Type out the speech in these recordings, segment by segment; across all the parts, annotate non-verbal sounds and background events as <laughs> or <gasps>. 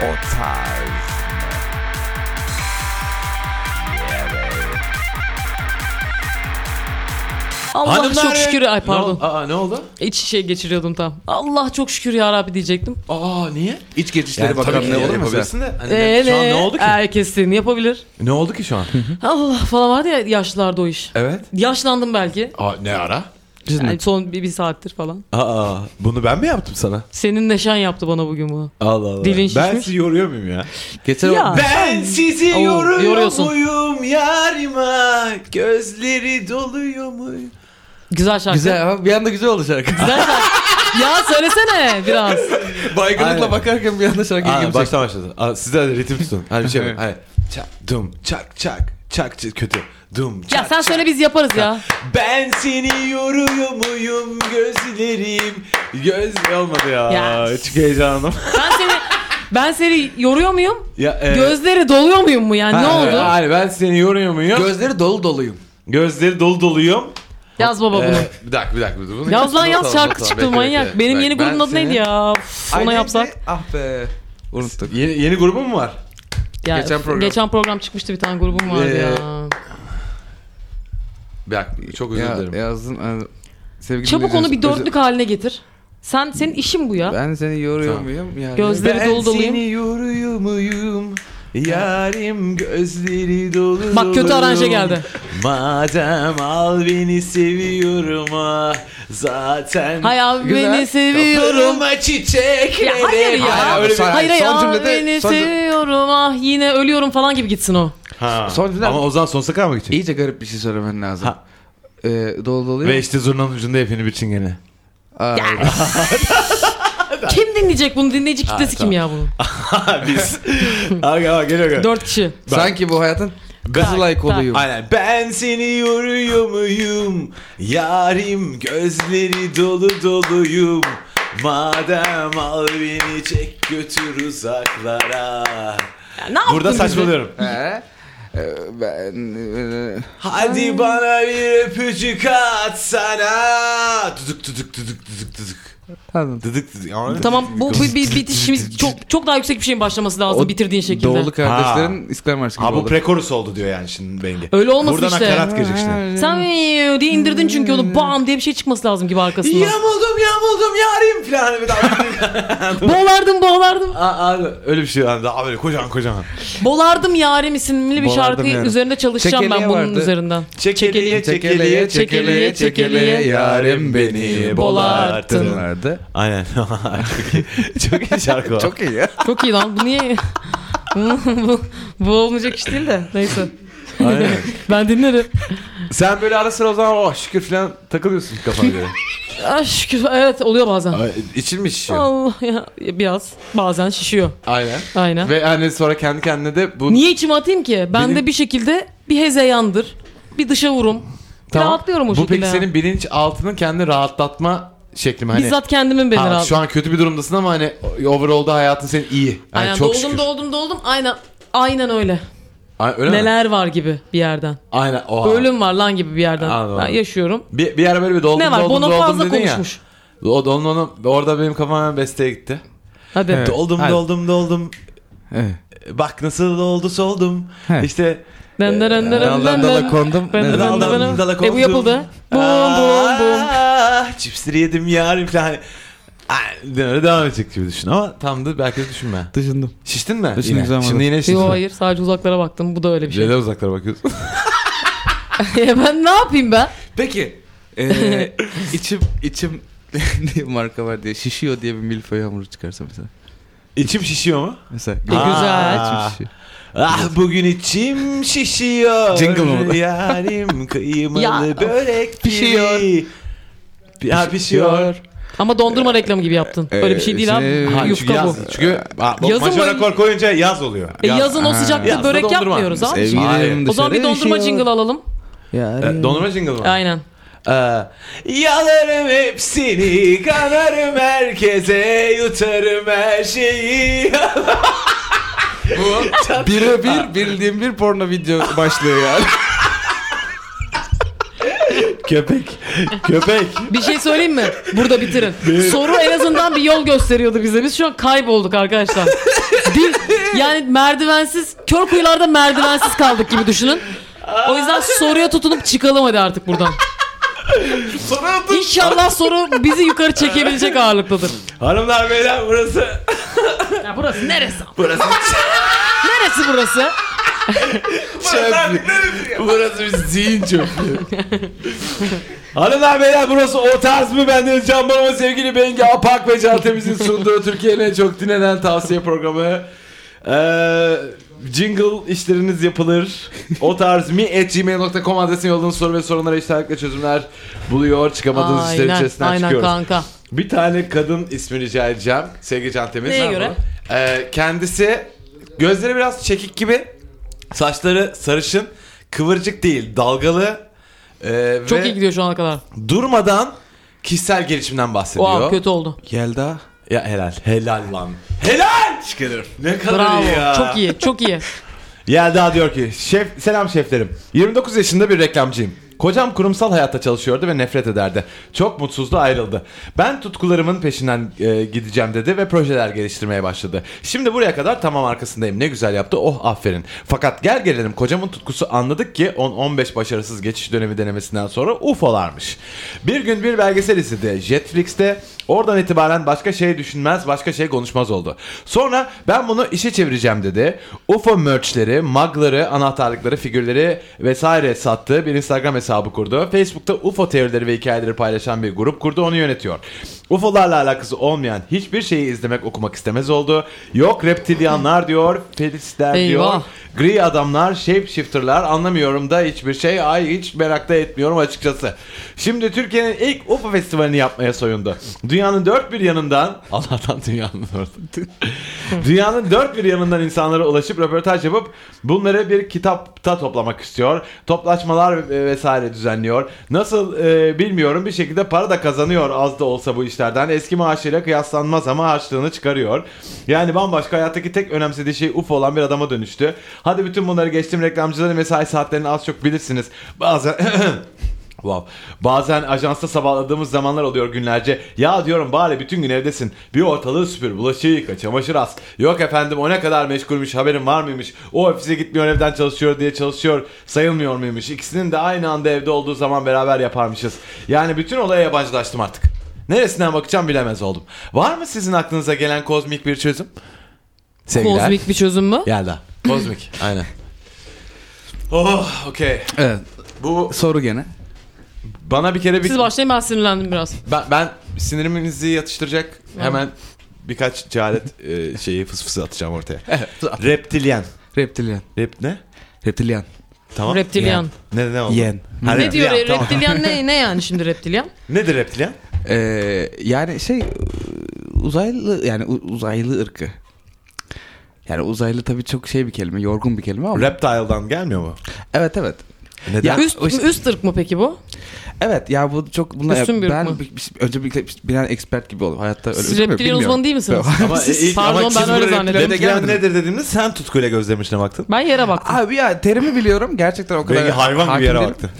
O tarz mı? Evet. Allah Hanımlar çok ve- şükür. Ay Ne, pardon. ol- aa, ne oldu? İç şey geçiriyordum tam. Allah çok şükür ya Rabbi diyecektim. Aa niye? İç geçişleri Yani tabii ki bakanlığı olur mu? yapabilirsin de. Hani Ee, şu an ne oldu ki? Herkes seni yapabilir. Ne oldu ki şu <laughs> an? Allah falan vardı ya yaşlılarda o iş. evet. Yaşlandım belki. Aa ne ara? Yani son bir, bir saattir falan. Aa bunu ben mi yaptım sana? Senin neşen yaptı bana bugün bunu. Allah Allah. Dilin ben şişmiş. sizi yoruyor muyum ya? Geçen Ya. Ben sizi Oo, yoruyor yoruyorsun. muyum yarima? Gözleri doluyor mu? Güzel şarkı. Güzel ama bir anda güzel oldu şarkı. Güzel şarkı. ya söylesene biraz. Baygınlıkla Aynen. bakarken bir anda şarkıya Aa, girmiş. baştan başladı. Aa, siz de hadi ritim tutun. Hadi <laughs> bir şey yapın. Evet. Hadi. Çak, dum, çak, çak. Çak, çak, kötü. Dum, çak, Ya sen çak. söyle biz yaparız ya. Ben seni yoruyor muyum gözlerim? Göz olmadı ya. Ya. Çok heyecanım. Ben seni ben seni yoruyor muyum? Ya, e, Gözleri doluyor muyum mu yani? ha, e- ne oldu? ha, Hayır ben seni yoruyor muyum? Gözleri dolu doluyum. Gözleri dolu doluyum. Yaz baba bunu. Ee, bir dakika bir dakika. Bunu yaz lan not yaz al, şarkı not al. çıktı Bekle, manyak. bekle. Benim Bak, yeni ben grubun adı seni- neydi ya? Uf, Ay, ona neydi? şey- yapsak. Ah be. Unuttuk. Yeni, yeni grubum mu var? Ya, geçen program. geçen program çıkmıştı bir tane grubum vardı Ee, ya. Bir dakika çok özür Ya, dilerim. yazdın. Ee, sevgili Çabuk onu bir dinleyicilerimiz, dörtlük haline getir. Sen senin işin bu özür- ya. Ben seni yoruyor Tamam. muyum? Yani Gözleri- ben dolu doluyum. seni yoruyor muyum? Yarim gözleri dolu doluyum. Bak kötü aranje geldi. Madem al beni seviyorum ah zaten. Hay abi Güzel. beni seviyorum. Kapıma çiçekleri. Ya hayır ya. Hayır, öyle bir- Hayır Son ya cümlede- beni son cüm- seviyorum ah yine ölüyorum falan gibi gitsin o. Ha. Son cümle- Ama Ozan sonsuza kadar mı gidecek? İyice garip bir şey söylemen lazım. Ha. Ee, dolu doluyum. Ve işte zurnanın ucunda hepini <laughs> bir çingene. Aa, <laughs> Kim dinleyecek bunu? Dinleyici kitlesi tamam. kim ya bunu? Biz. <laughs> Aga bak geliyor. geliyor. Dört kişi. sanki bu hayatın Ben- kızılay koluyum. Aynen. Ben seni yoruyor muyum? Yarim gözleri dolu doluyum. Madem al beni çek götür uzaklara. Ya ne yaptın Burada bizi? saçmalıyorum. Ee, e, ben e, Hadi bana bir öpücük atsana. Düdük düdük düdük düdük düdük. Tamam. Düdük düdük. Tamam bu bir, bir bitişimiz <laughs> çok çok daha yüksek bir şeyin başlaması lazım O bitirdiğin şekilde. Doğulu kardeşlerin İskender Marşı gibi Ha bu olur. prekorus oldu diyor yani şimdi Bengi. Öyle olmasın Buradan işte. akarat gelecek işte. Hmm. Sen ee, diye indirdin çünkü onu bam diye bir şey çıkması lazım gibi arkasından. Yamuldum yamuldum yarim falan. hani Bir daha- boğlardım boğlardım. <laughs> Aa, aa, öyle bir şey yani daha böyle kocaman kocaman. Boğlardım yarim isimli bir Boğlardım şarkı yarim. üzerinde çalışacağım ben Çekeliğe bunun vardı. üzerinden. Çekeliye Çekeleye çekeleye çekeleye yarim Bolarttın. beni bolarttınlardı. Aynen. <laughs> çok, iyi. çok iyi şarkı o. Çok iyi ya. Çok iyi lan bu <laughs> niye? bu, bu olmayacak iş değil de neyse. Aynen. <laughs> Ben dinlerim. <laughs> Sen böyle ara sıra o zaman oh şükür falan takılıyorsun kafana <laughs> göre. Ay Ah, şükür evet oluyor bazen. Ay, İçin mi şişiyor? Allah ya biraz bazen şişiyor. Aynen. Aynen. Ve hani sonra kendi kendine de bu Niye içime atayım ki? Ben de Benim- bir şekilde bir hezeyandır. Bir dışa vurum. Tamam. Rahatlıyorum o Bu şekilde. peki senin bilinç altının kendini rahatlatma şekli mi? Hani, Bizzat kendimin beni ha, rahat. Şu an kötü bir durumdasın ama hani overall'da hayatın senin iyi. Yani Aynen çok doldum şükür. doldum doldum aynen. Aynen öyle. Ay, öyle mi? Neler var gibi bir yerden. Aynen. Oha. Ölüm var lan gibi bir yerden. Anladım. Ben yaşıyorum. Bir, bir ara böyle bir doldum Ne var? doldum Bono doldum fazla dedin konuşmuş. ya. O doldum doldum. Orada benim kafam hemen besteye gitti. Hadi. Doldum Hadi. doldum doldum. Evet. Bak nasıl oldu soldum. He. İşte Dön dön dön dön Daldan dön dala dön. kondum. Ben de Neden? ben de ben de. Daldan dala E bu kondum. yapıldı. Bum bum bum. Ah, Cipsleri yedim yarın falan. Ay, Böyle devam edecek gibi düşün ama tam da belki düşünme. Düşündüm. Şiştin mi? Düşündüm, yine. güzel Şimdi olmadı. yine şiştin. Yo hayır sadece uzaklara baktım. Bu da öyle bir şey. Şeyde uzaklara bakıyorsun. Ya <laughs> ben ne yapayım ben? Peki. <laughs> Ee, içim içim <laughs> diye marka var diye şişiyor diye bir milföy hamuru çıkarsa mesela. İçim şişiyor mu? Mesela. güzel. içim şişiyor. Ah bugün içim şişiyor. Jingle mı bu? Yarim <laughs> kıymalı Ya. börek Pişiyor. gibi. Ya pişiyor. Ama dondurma reklamı gibi yaptın. Öyle bir şey değil abi. şey- Ee, Ha, çünkü Yufka bu. yaz. Çünkü ha, Yazın Yazın böyle- rekor koyunca yaz oluyor. E, Yaz. yazın o sıcakta Yazda börek dondurma. yapmıyoruz abi. Sevgili- şey Sevgilerim O zaman bir dışarı dondurma şişiyor. jingle alalım. Yarim. E, dondurma jingle mı? Aynen. Ee, yalarım hepsini, kanarım herkese, yutarım her şeyi. <laughs> Birebir bildiğim bir porno video <laughs> başlığı yani. Köpek, köpek. Bir şey söyleyeyim mi? Burada bitirin. Soru en azından bir yol gösteriyordu bize. Biz şu an kaybolduk arkadaşlar. Bir, yani merdivensiz, kör kuyularda merdivensiz kaldık gibi düşünün. O yüzden soruya tutunup çıkalım hadi artık buradan. İnşallah soru bizi yukarı çekebilecek ağırlıktadır. Hanımlar beyler burası. Ya burası neresi? Burası Neresi burası? çöplük. burası bir <laughs> zihin çöplüğü. Hanımlar beyler burası o tarz mı? Bendeniz Can Bonomo, sevgili Bengi Apak ve Can Temiz'in sunduğu Türkiye'nin en çok dinlenen tavsiye programı. Ee, jingle işleriniz yapılır. O tarz mi? At gmail.com adresine yolladığınız soru ve sorunlara iştahatla çözümler buluyor. Çıkamadığınız işlerin içerisinden aynen çıkıyoruz. kanka. Bir tane kadın ismi rica edeceğim. Sevgili Can Temiz. Neye Merhaba. göre? Ee, kendisi gözleri biraz çekik gibi. Saçları sarışın. Kıvırcık değil. Dalgalı. Ee, Çok ve iyi gidiyor şu ana kadar. durmadan kişisel gelişimden bahsediyor. Wow kötü oldu. Yelda. Ya helal. Helal lan. Helal! Çıkarırım. Ne kadar Bravo. iyi ya. Çok iyi, çok iyi. Yelda diyor ki şef selam şeflerim. 29 yaşında bir reklamcıyım. Kocam kurumsal hayatta çalışıyordu ve nefret ederdi. Çok mutsuzdu ayrıldı. Ben tutkularımın peşinden e, gideceğim dedi ve projeler geliştirmeye başladı. Şimdi buraya kadar tamam arkasındayım. Ne güzel yaptı. Oh aferin. Fakat gel gelelim kocamın tutkusu anladık ki 10-15 başarısız geçiş dönemi denemesinden sonra ufolarmış. Bir gün bir belgesel izledi. Jetflix'te Oradan itibaren başka şey düşünmez, başka şey konuşmaz oldu. Sonra ben bunu işe çevireceğim dedi. UFO merchleri, mugları, anahtarlıkları, figürleri vesaire sattı. Bir Instagram hesabı kurdu. Facebook'ta UFO teorileri ve hikayeleri paylaşan bir grup kurdu. Onu yönetiyor. UFO'larla alakası olmayan hiçbir şeyi izlemek, okumak istemez oldu. Yok reptilyanlar diyor, felisler diyor. Eyvah. Gri adamlar, shapeshifter'lar anlamıyorum da hiçbir şey. Ay hiç merak da etmiyorum açıkçası. Şimdi Türkiye'nin ilk UFO festivalini yapmaya soyundu. Dünyanın dört bir yanından... <laughs> Allah'tan dünyanın dört. dünyanın dört bir yanından insanlara ulaşıp röportaj yapıp bunları bir kitapta toplamak istiyor. Toplaşmalar ve- vesaire düzenliyor. Nasıl e, bilmiyorum bir şekilde para da kazanıyor az da olsa bu işlerden. Eski maaşıyla kıyaslanmaz ama harçlığını çıkarıyor. Yani bambaşka hayattaki tek önemsediği şey UFO olan bir adama dönüştü. Hadi bütün bunları geçtim reklamcıların mesai saatlerini az çok bilirsiniz. Bazen <coughs> Wow. Bazen ajansta sabahladığımız zamanlar oluyor günlerce. Ya diyorum bari bütün gün evdesin. Bir ortalığı süpür, bulaşığı yıka, çamaşır as. Yok efendim o ne kadar meşgulmüş, haberin var mıymış? O ofise gitmiyor evden çalışıyor diye çalışıyor sayılmıyor muymuş? İkisinin de aynı anda evde olduğu zaman beraber yaparmışız. Yani bütün olaya yabancılaştım artık. Neresinden bakacağım bilemez oldum. Var mı sizin aklınıza gelen kozmik bir çözüm? Sevgiler. Kozmik bir çözüm mü? Yelda. Kozmik. Aynen. Oh, okey. Evet. Bu Soru gene. bana bir kere bir... Siz başlayın ben sinirlendim biraz. Ben, ben sinirimizi yatıştıracak hemen birkaç cehalet e, şeyi fıs fısı atacağım ortaya. <laughs> Evet. Reptilyen. Reptilyan. Rep ne? Reptilyan. Tamam. Reptilyan. Ne ne oldu? Yen. Ha, Ne diyor reptilyan, tamam. reptilyan ne ne yani şimdi reptilyan? Nedir reptilyen? Ee, yani şey uzaylı yani u- uzaylı ırkı. Yani uzaylı tabii çok şey bir kelime, yorgun bir kelime ama. Reptile'dan gelmiyor mu? evet evet. Neden? Ya- Üst o işte- üst ırk mı peki bu? Evet ya bu çok bunlar Üstün bir ben ırk mı? bir- bir- önce bir, bir- bilen expert gibi oldum. Hayatta öyle Siz öyle mi reptilyan bilmiyorum. uzmanı değil misiniz? ama ilk, Pardon, ama ben siz öyle bu rep- zannettim. Reptilyen Gelmedin. nedir dediğimde sen tutkuyla gözlemişine baktın. Ben yere baktım. <laughs> Abi ya terimi biliyorum gerçekten o kadar. Bengi hayvan gibi hakim yere değilim. baktı.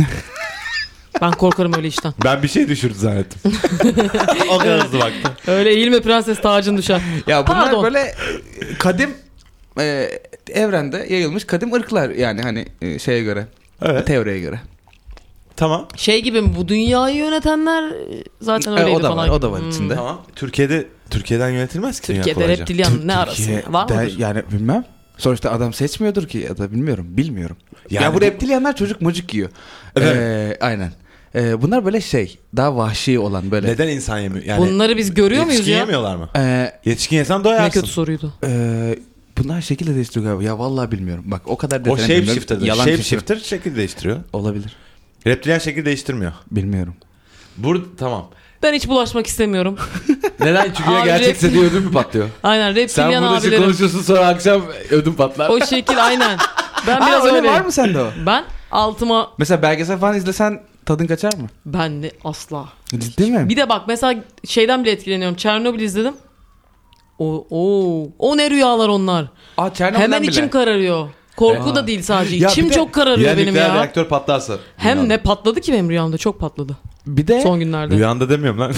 Ben korkarım öyle işten. Ben bir şey düşürdü zannettim. <laughs> o kadar hızlı baktı. Öyle eğilme prenses tacın düşer. Ya bunlar Pardon. böyle kadim e, evrende yayılmış kadim ırklar yani hani e, şeye göre. Evet. Teoriye göre. Tamam. Şey gibi mi bu dünyayı yönetenler e, zaten E, öyleydi o da falan. var, o da var Hmm. içinde. Tamam. Türkiye'de Türkiye'den yönetilmez ki dünya Türkiye'de kolayca. reptilyan ne arası? Türkiye'de Var mıdır? Yani bilmem. Sonuçta adam seçmiyordur ki ya da bilmiyorum. Bilmiyorum. Yani ya bu bu- reptilyanlar çocuk mucuk yiyor. Evet. Ee, aynen. Ee, bunlar böyle şey daha vahşi olan böyle. Neden insan yemiyor? Yani Bunları biz görüyor muyuz yetişkin ya? yemiyorlar mı? Ee, Yetişkin yesen Ne doyarsın. kötü soruydu. e, bunlar şekilde değiştiriyor galiba. Ya vallahi bilmiyorum. Bak o kadar O detaylı shape shifter'dır. Yalan Shape şifre. shifter şekil değiştiriyor. Olabilir. Reptilyen şekil değiştirmiyor. Bilmiyorum. Burada tamam. Ben hiç bulaşmak istemiyorum. <laughs> Neden? Çünkü ya Abi gerçekse rep- diye ödüm mü patlıyor? Aynen Sen reptilyan burada şey abilerim. konuşuyorsun sonra akşam ödüm patlar. O şekil aynen. Ben biraz Aa, öyle öyleyim. var mı sende o? Ben altıma Mesela belgesel falan izlesen tadın kaçar mı? ben de asla. Ciddi mi? Bir de bak mesela şeyden bile etkileniyorum. Çernobil izledim. O, o, o ne rüyalar onlar. Aa, Çernobil'den Hemen bile. içim kararıyor. Korku da değil sadece. Ya bir içim de- çok kararıyor benim nükleer ya. reaktör patlarsa. Hem rüyanda. ne E? patladı ki benim rüyamda çok patladı. Bir de Son günlerde. Rüyanda demiyorum lan.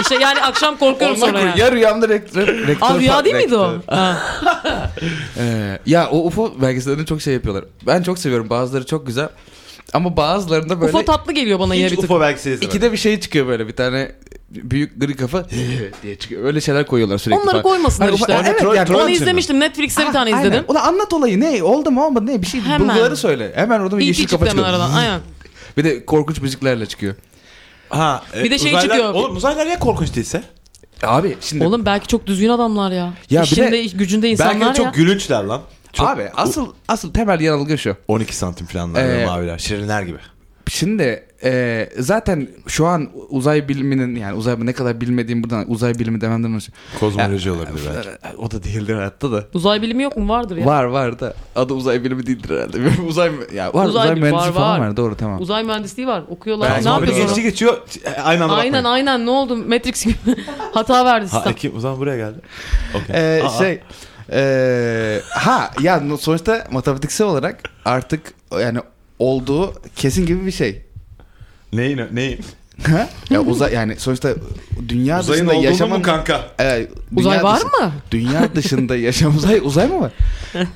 İşte yani akşam korkuyorum Ondan sonra sonra yani. ya rüyamda rektör. <laughs> rektör Aa rüya falan- değil miydi o? rektör. Ha. Ee, ya o UFO belgesellerini çok şey yapıyorlar. Ben çok seviyorum. Bazıları çok güzel. Ama bazılarında böyle UFO tatlı geliyor bana yine Hiç bir tık. UFO belgeseli izlemedim. ikide bir şey çıkıyor böyle. Bir tane büyük gri kafa <laughs> diye çıkıyor. Öyle şeyler koyuyorlar sürekli. Onları falan. koymasınlar Hani işte. UFO- Evet, Troll- yani troll- Onu Onun için mi? izlemiştim. Netflix'te bir tane Ah, Aynen. izledim. Ulan anlat olayı ne oldu mu olmadı ne bir şey Hemen. bulguları söyle. Hemen orada bir İyi yeşil çıktı kafa hemen çıkıyor. aradan. Aynen. Bir de korkunç müziklerle çıkıyor. Ha, e, Bir de şey uzaylılar- çıkıyor. Oğlum uzaylılar ya korkunç değilse? Abi şimdi Oğlum belki çok düzgün adamlar ya. Ya bir İşinde de- gücünde Belki insanlar de çok ya. gülünçler lan. Çok abi asıl asıl temel yanılgı şu. 12 santim falanlar Ee, ee, maviler. Şirinler gibi. Şimdi e, zaten şu an uzay biliminin yani uzay ne kadar bilmediğim buradan uzay bilimi dememden önce. Kozmoloji olabilir belki. O da değildir hayatta da. Uzay bilimi yok mu? Vardır ya. Var var da adı uzay bilimi değildir herhalde. <laughs> uzay mü- ya var Uzay uzay, bilimi, mühendisi var, falan var. var. doğru tamam. Uzay mühendisliği var. Okuyorlar. Belki Ne muhabbet yapıyorsun? geçti geçiyor. e, Aynı anda Aynen bakmayın. aynen ne oldu? Matrix gibi hata verdi Ha, sistem. Ekim o zaman buraya geldi. Okey. Ee, Aa, şey ee, ha ya no- sonuçta matematiksel olarak artık yani olduğu kesin gibi bir şey. <laughs> Neyin? Neyin? Ha? ya uzay yani sonuçta dünya Uzayın dışında olduğunu yaşaman mu kanka? Evet, Uzay dünya var dışı- mı? Dünya dışında yaşam uzay uzay <laughs> mı var?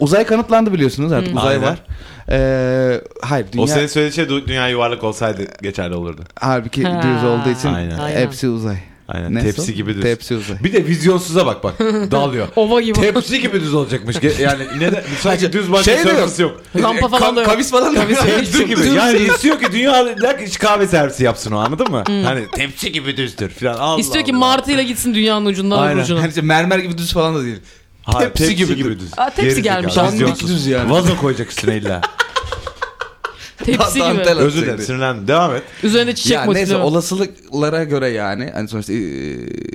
Uzay kanıtlandı biliyorsunuz artık uzay Hmm. Aynen. var. Ee, hayır dünya O senin söylediğin şey du- dünya yuvarlak olsaydı geçerli olurdu. halbuki Ha. düz olduğu için Aynen. Aynen. hepsi uzay. Aynen, Neyse tepsi o? gibi düz. Tepsi uzay. Bir de vizyonsuza bak <laughs> bak. Dalıyor. Ova gibi. Tepsi gibi düz olacakmış. Ge- Yani neden? Sanki düz başka Şey de yok. şey- surface yok. Lampa falan da yok. Kavis falan da yok. Tepsi gibi. Yani istiyor ki dünya hiç kahve servisi yapsın o anladın mı? Hani tepsi gibi düzdür falan. Allah Hmm. İstiyor ki Allah. martıyla gitsin dünyanın ucundan Aynen. öbür ucuna. Hani işte mermer gibi düz falan da değil. Ha, tepsi gibi düz. Aa, tepsi Gerizekalı, gelmiş vizyonsuz. aslında. Dik düz yani. Vazo koyacak üstüne <laughs> illa. Tepsi Dantel gibi. atacak Özür dilerim diye. sinirlendim. Devam et. Üzerinde çiçek Ya motifi. neyse var. olasılıklara göre yani hani sonuçta e,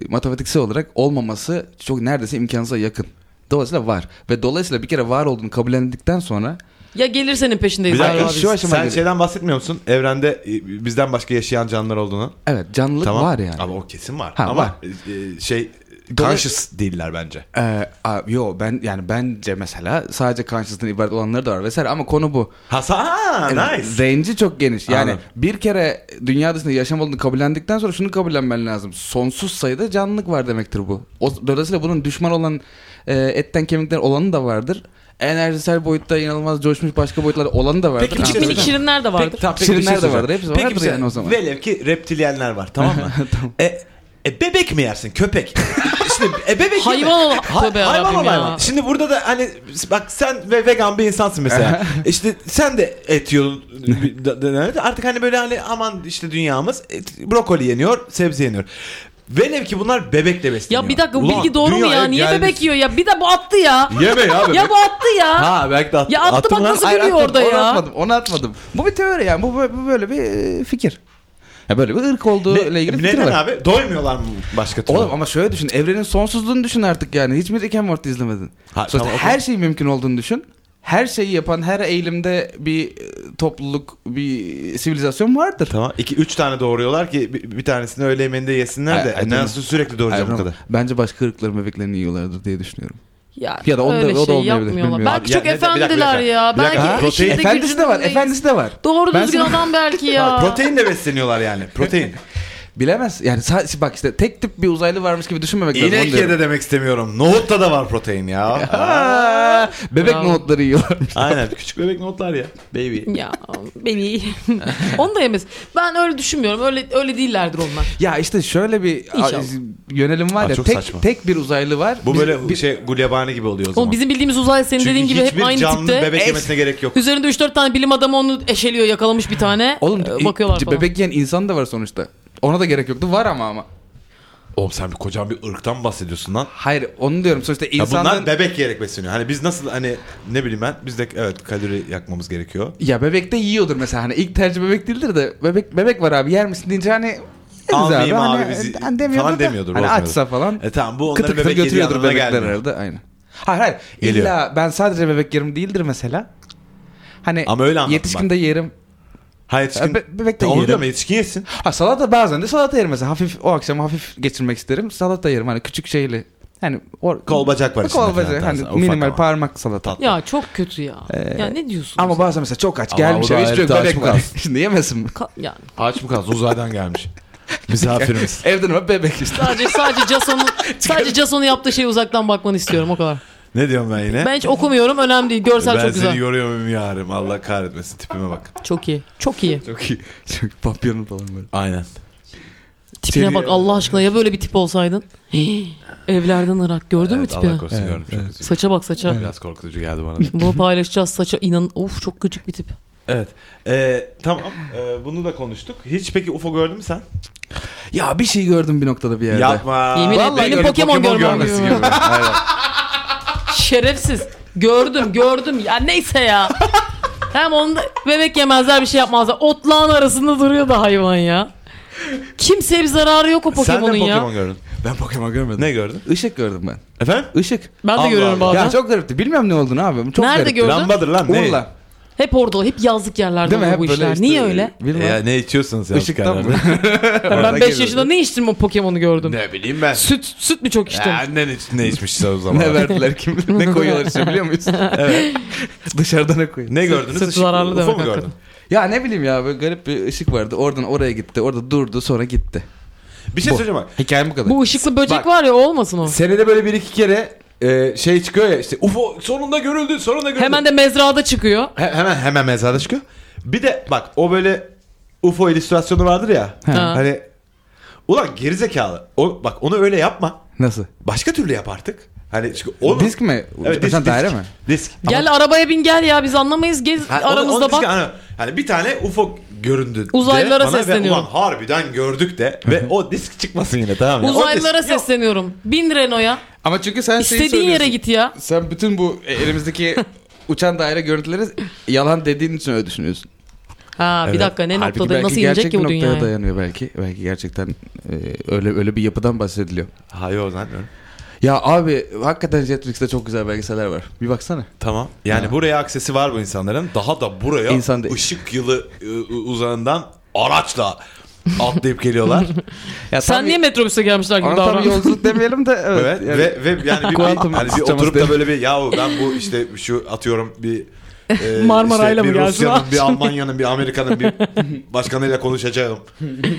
matematiksel olarak olmaması çok neredeyse imkansıza yakın. Dolayısıyla var ve dolayısıyla bir kere var olduğunu kabullendikten sonra Ya gelir senin peşindeyiz. Bir dakika abi. şu aşama sen geliyor. şeyden bahsetmiyor musun? Evrende e, bizden başka yaşayan canlılar olduğunu. evet canlılık Tamam. var yani. Ama o kesin var. Ha, Ama var. e, e, şey conscious değiller bence. Ee, a- yo ben yani bence mesela sadece conscious'tan ibaret olanları da var vesaire ama konu bu. Ha, sa- ha Yani nice. Range'i çok geniş. Yani Anladım. bir kere dünya dışında yaşam olduğunu kabullendikten sonra şunu kabullenmen lazım. Sonsuz sayıda canlılık var demektir bu. O, dolayısıyla bunun düşman olan e, etten kemikten olanı da vardır. Enerjisel boyutta inanılmaz coşmuş başka boyutlar olanı da vardır. Peki, Küçük Ha, Anladım. minik şirinler de vardır. tamam, Şirinler bir şey de soracağım. vardır, hepsi Peki vardır bir şey- yani o zaman. Velev ki reptilyenler var tamam <laughs> mı? e, e, bebek mi yersin köpek? Şimdi e, bebek yeme. Hayvan ol- Tövbe hayvan yarabbim ol ya. hayvan. Şimdi burada da hani bak sen ve vegan bir insansın <laughs> mesela. E işte sen de et yiyorsun. Artık hani böyle hani aman işte dünyamız et- brokoli yeniyor, sebze yeniyor. Velev ki bunlar bebekle besleniyor. Ya bir dakika bu Ulan bilgi doğru mu dünyaya ya? Niye gelmiş- bebek yiyor ya? Bir de bu attı ya. Yeme <laughs> ya bebek. ya bu attı ya. Ha belki de at, Ya attı attım bak lan. nasıl- biliyor atmadım, orada onu ya? atmadım, onu atmadım. Bu bir teori yani. Bu, bu böyle bir e, fikir. Ya böyle bir ırk olduğu Ne- ile ilgili fikir neden var. abi? Doymuyorlar mı başka türlü? Oğlum ama şöyle düşün. Evrenin sonsuzluğunu düşün artık yani. Hiç mi Rick and Morty izlemedin? Ha, Sonuçta tamam, her şey mümkün olduğunu düşün. Her şeyi yapan her eğilimde bir e, topluluk, bir sivilizasyon vardır. Tamam. 2 3 tane doğuruyorlar ki bir, bir tanesini öğle yemeğinde yesinler de. Ay, ay, Nasıl sürekli Hayır, doğuracağım bu ama kadar. Bence başka ırkların bebeklerini yiyorlardır diye düşünüyorum. Ya, Ya da onu da- öyle o da şey olmayabilir, yapmıyorlar. bilmiyorum. Belki Ya çok ne de- bir dakika, bir efendiler dakika. ya. Bir dakika, Belki protein- işinde efendisi de var, gücündeyiz. efendisi de var. Doğru Ben düzgün sana- adam belki Ha, ya. proteinle besleniyorlar yani. <laughs> Protein. Bilemez. Yani sa- bak işte tek tip bir uzaylı varmış gibi düşünmemek lazım. onu İnek ye diyorum. de demek istemiyorum. Nohutta da var protein ya. <laughs> Aa, Aa, bebek Bravo. nohutları yiyorlarmış. Aynen. Küçük bebek nohutlar ya. Baby. Ya beni <laughs> Onu da yemez. Ben öyle düşünmüyorum. Öyle öyle değillerdir onlar. <laughs> Ya işte şöyle bir İnşallah. yönelim var Aa, ya çok tek saçma. tek bir uzaylı var. Bu Biz- böyle bir- şey gulyabani gibi oluyor o zaman. Oğlum bizim bildiğimiz uzay senin Çünkü dediğin gibi hep hiçbir aynı canlı tipte. bebek Es- yemesine gerek yok. Üzerinde 3-4 tane bilim adamı onu eşeliyor yakalamış bir tane. Oğlum Ee, bakıyorlar e, falan. bebek yiyen insan da var sonuçta. Ona da gerek yoktu. Var ama ama. Oğlum sen bir kocaman bir ırktan bahsediyorsun lan. Hayır onu diyorum sonuçta Ya insanların... bunlar bebek yiyerek besleniyor. Hani biz nasıl hani ne bileyim ben biz de evet kalori yakmamız gerekiyor. Ya bebek de yiyordur mesela hani ilk tercih bebek değildir de bebek bebek var abi yer misin deyince hani yeriz Almayayım hani, abi bizi- hani demiyordur falan da, demiyordur, Hani bozmuyordur. açsa falan. E tamam bu onları kıtır kıtır bebek yediği götürüyordur anlamına bebekler gelmiyor. arada aynen. Hayır hayır Geliyor. illa ben sadece bebek yerim değildir mesela. Hani Ama öyle anlattın yetişkin de yerim. Hayır yetişkin. Ya be- bebek de Onu yiyelim. deme yetişkin yesin. Ha salata bazen de salata yerim mesela hafif o akşam hafif geçirmek isterim salata yerim hani küçük şeyli. Hani or- Kol bacak var içinde Kol bacak falan hani tarzı, ufak minimal ama. parmak salata. Ya çok kötü ya. ya ne diyorsun? Ama bazen mesela çok aç Ee, Ama gelmiş o da eve hiç yok <laughs> ayakta bebek aç var. kalsın. Şimdi yemesin mi? Ka- yani. Aç mı kalsın uzaydan gelmiş. <laughs> Misafirimiz. Evden ama bebek işte. Sadece <laughs> sadece Jason'un sadece Jason'un yaptığı şeye uzaktan bakmanı istiyorum o kadar. ne diyorum ben yine? Ben hiç okumuyorum önemli değil. Görsel ben çok güzel. seni yoruyor muyum yarım? Allah kahretmesin tipime bak. Çok iyi. Çok iyi. Çok iyi. Çok papyonu falan böyle. Aynen. Tipine Seni- bak Allah aşkına ya böyle bir <gasps> tip olsaydın. Hii, Evlerden ırak. Gördün mü Evet, Allah tipini? korusun Evet, gördüm. Çok evet. üzücü. Saça bak saça. Biraz korkutucu geldi bana. <laughs> Bunu paylaşacağız saça inan. Of çok gıcık bir tip. evet. Ee, tamam. Ee, bunu da konuştuk. Hiç peki UFO gördün mü sen? Ya bir şey gördüm bir noktada bir yerde. Yapma. Yemin et, Vallahi benim gördüm, Pokemon görmem görmesi gibi. <laughs> gibi. Aynen. Şerefsiz. Gördüm gördüm. Ya neyse ya. Hem onu da bebek yemezler bir şey yapmazlar. Otlağın arasında duruyor da hayvan ya. Kimseye bir zararı yok o Sen de Pokemon'un ya. Pokemon gördün. Ben Pokemon görmedim. Ne gördün? Işık gördüm ben. Efendim? Işık. Ben de Allah görüyorum Allah. bazen. Ya çok garipti. Bilmiyorum ne olduğunu abi. Çok Nerede garipti. Gördün? Lambadır lan ne? Urla. Hep orada, hep yazlık yerlerde Değil mi? oluyor Hep bu böyle işler. işte- Niye öyle? E, Bilmem. ya ne içiyorsunuz ya? Işıktan mı? Ben 5 geliyorum. yaşında ne içtim o Pokemon'u gördüm. ne bileyim ben. Süt, süt mü çok içtim? Ya, annen iç- ne içmişse o zaman. <laughs> ne verdiler kim bilir? ne koyuyorlar işte <laughs> biliyor muyuz? evet. <laughs> Dışarıda ne koyuyor? Ne gördünüz? sırt Işık- zararlı UFO demek mu gördün? hakikaten. Ya ne bileyim ya böyle garip bir ışık vardı. Oradan oraya gitti. Orada durdu sonra gitti. Bir şey Bu. söyleyeceğim bak. Hikayem bu kadar. Bu ışıklı böcek Bak. var ya o olmasın o. Senede böyle bir iki kere e, şey çıkıyor ya işte UFO sonunda görüldü sonunda görüldü. Hemen de mezrada çıkıyor. He- hemen hemen mezarda çıkıyor. Bir de bak o böyle UFO illüstrasyonu vardır ya. Ha. Hani ulan gerizekalı. O, bak onu öyle yapma. Nasıl? Başka türlü yap artık. Hani çünkü onu... Disk mi? Evet, disk, Mesela daire disk. mi? Disk. Gel arabaya bin gel ya biz anlamayız gez Ha, onun- aramızda onun bak. diski hani, hani bir tane UFO göründü. de Uzaylılara bana ve sesleniyorum. Ulan harbiden gördük de ve o disk çıkmasın yine tamam mı? Hani O disk- Uzaylılara sesleniyorum. Bin Renault'a. Ama çünkü sen şeyi İstediğin yere söylüyorsun. git ya. Sen bütün bu <laughs> elimizdeki uçan daire görüntüleri yalan dediğin için öyle düşünüyorsun. Ha bir Evet. dakika ne Halbuki noktada belki nasıl gerçek inecek ki bu bir noktaya dünyaya? dayanıyor belki. Belki gerçekten e, öyle öyle bir yapıdan bahsediliyor. Hayır o zannetmiyorum. Ya abi hakikaten Netflix'te çok güzel belgeseller var. Bir baksana. Tamam. Yani buraya aksesi var bu insanların. Daha da buraya İnsan değil. ışık yılı e, uzağından araçla atlayıp geliyorlar. Ya Sen tam- niye metrobüse gelmişler gibi <laughs> Ona tam davranıyorsun? yolculuk demeyelim de evet. evet. yani- Ve, ve yani bir, Kuantum hani bir sıçraması oturup da değil. böyle bir yahu ben bu işte şu atıyorum bir e, işte Marmaray'la mı bir gelsin? Rusya'nın, bir Almanya'nın, bir Amerika'nın bir başkanıyla konuşacağım.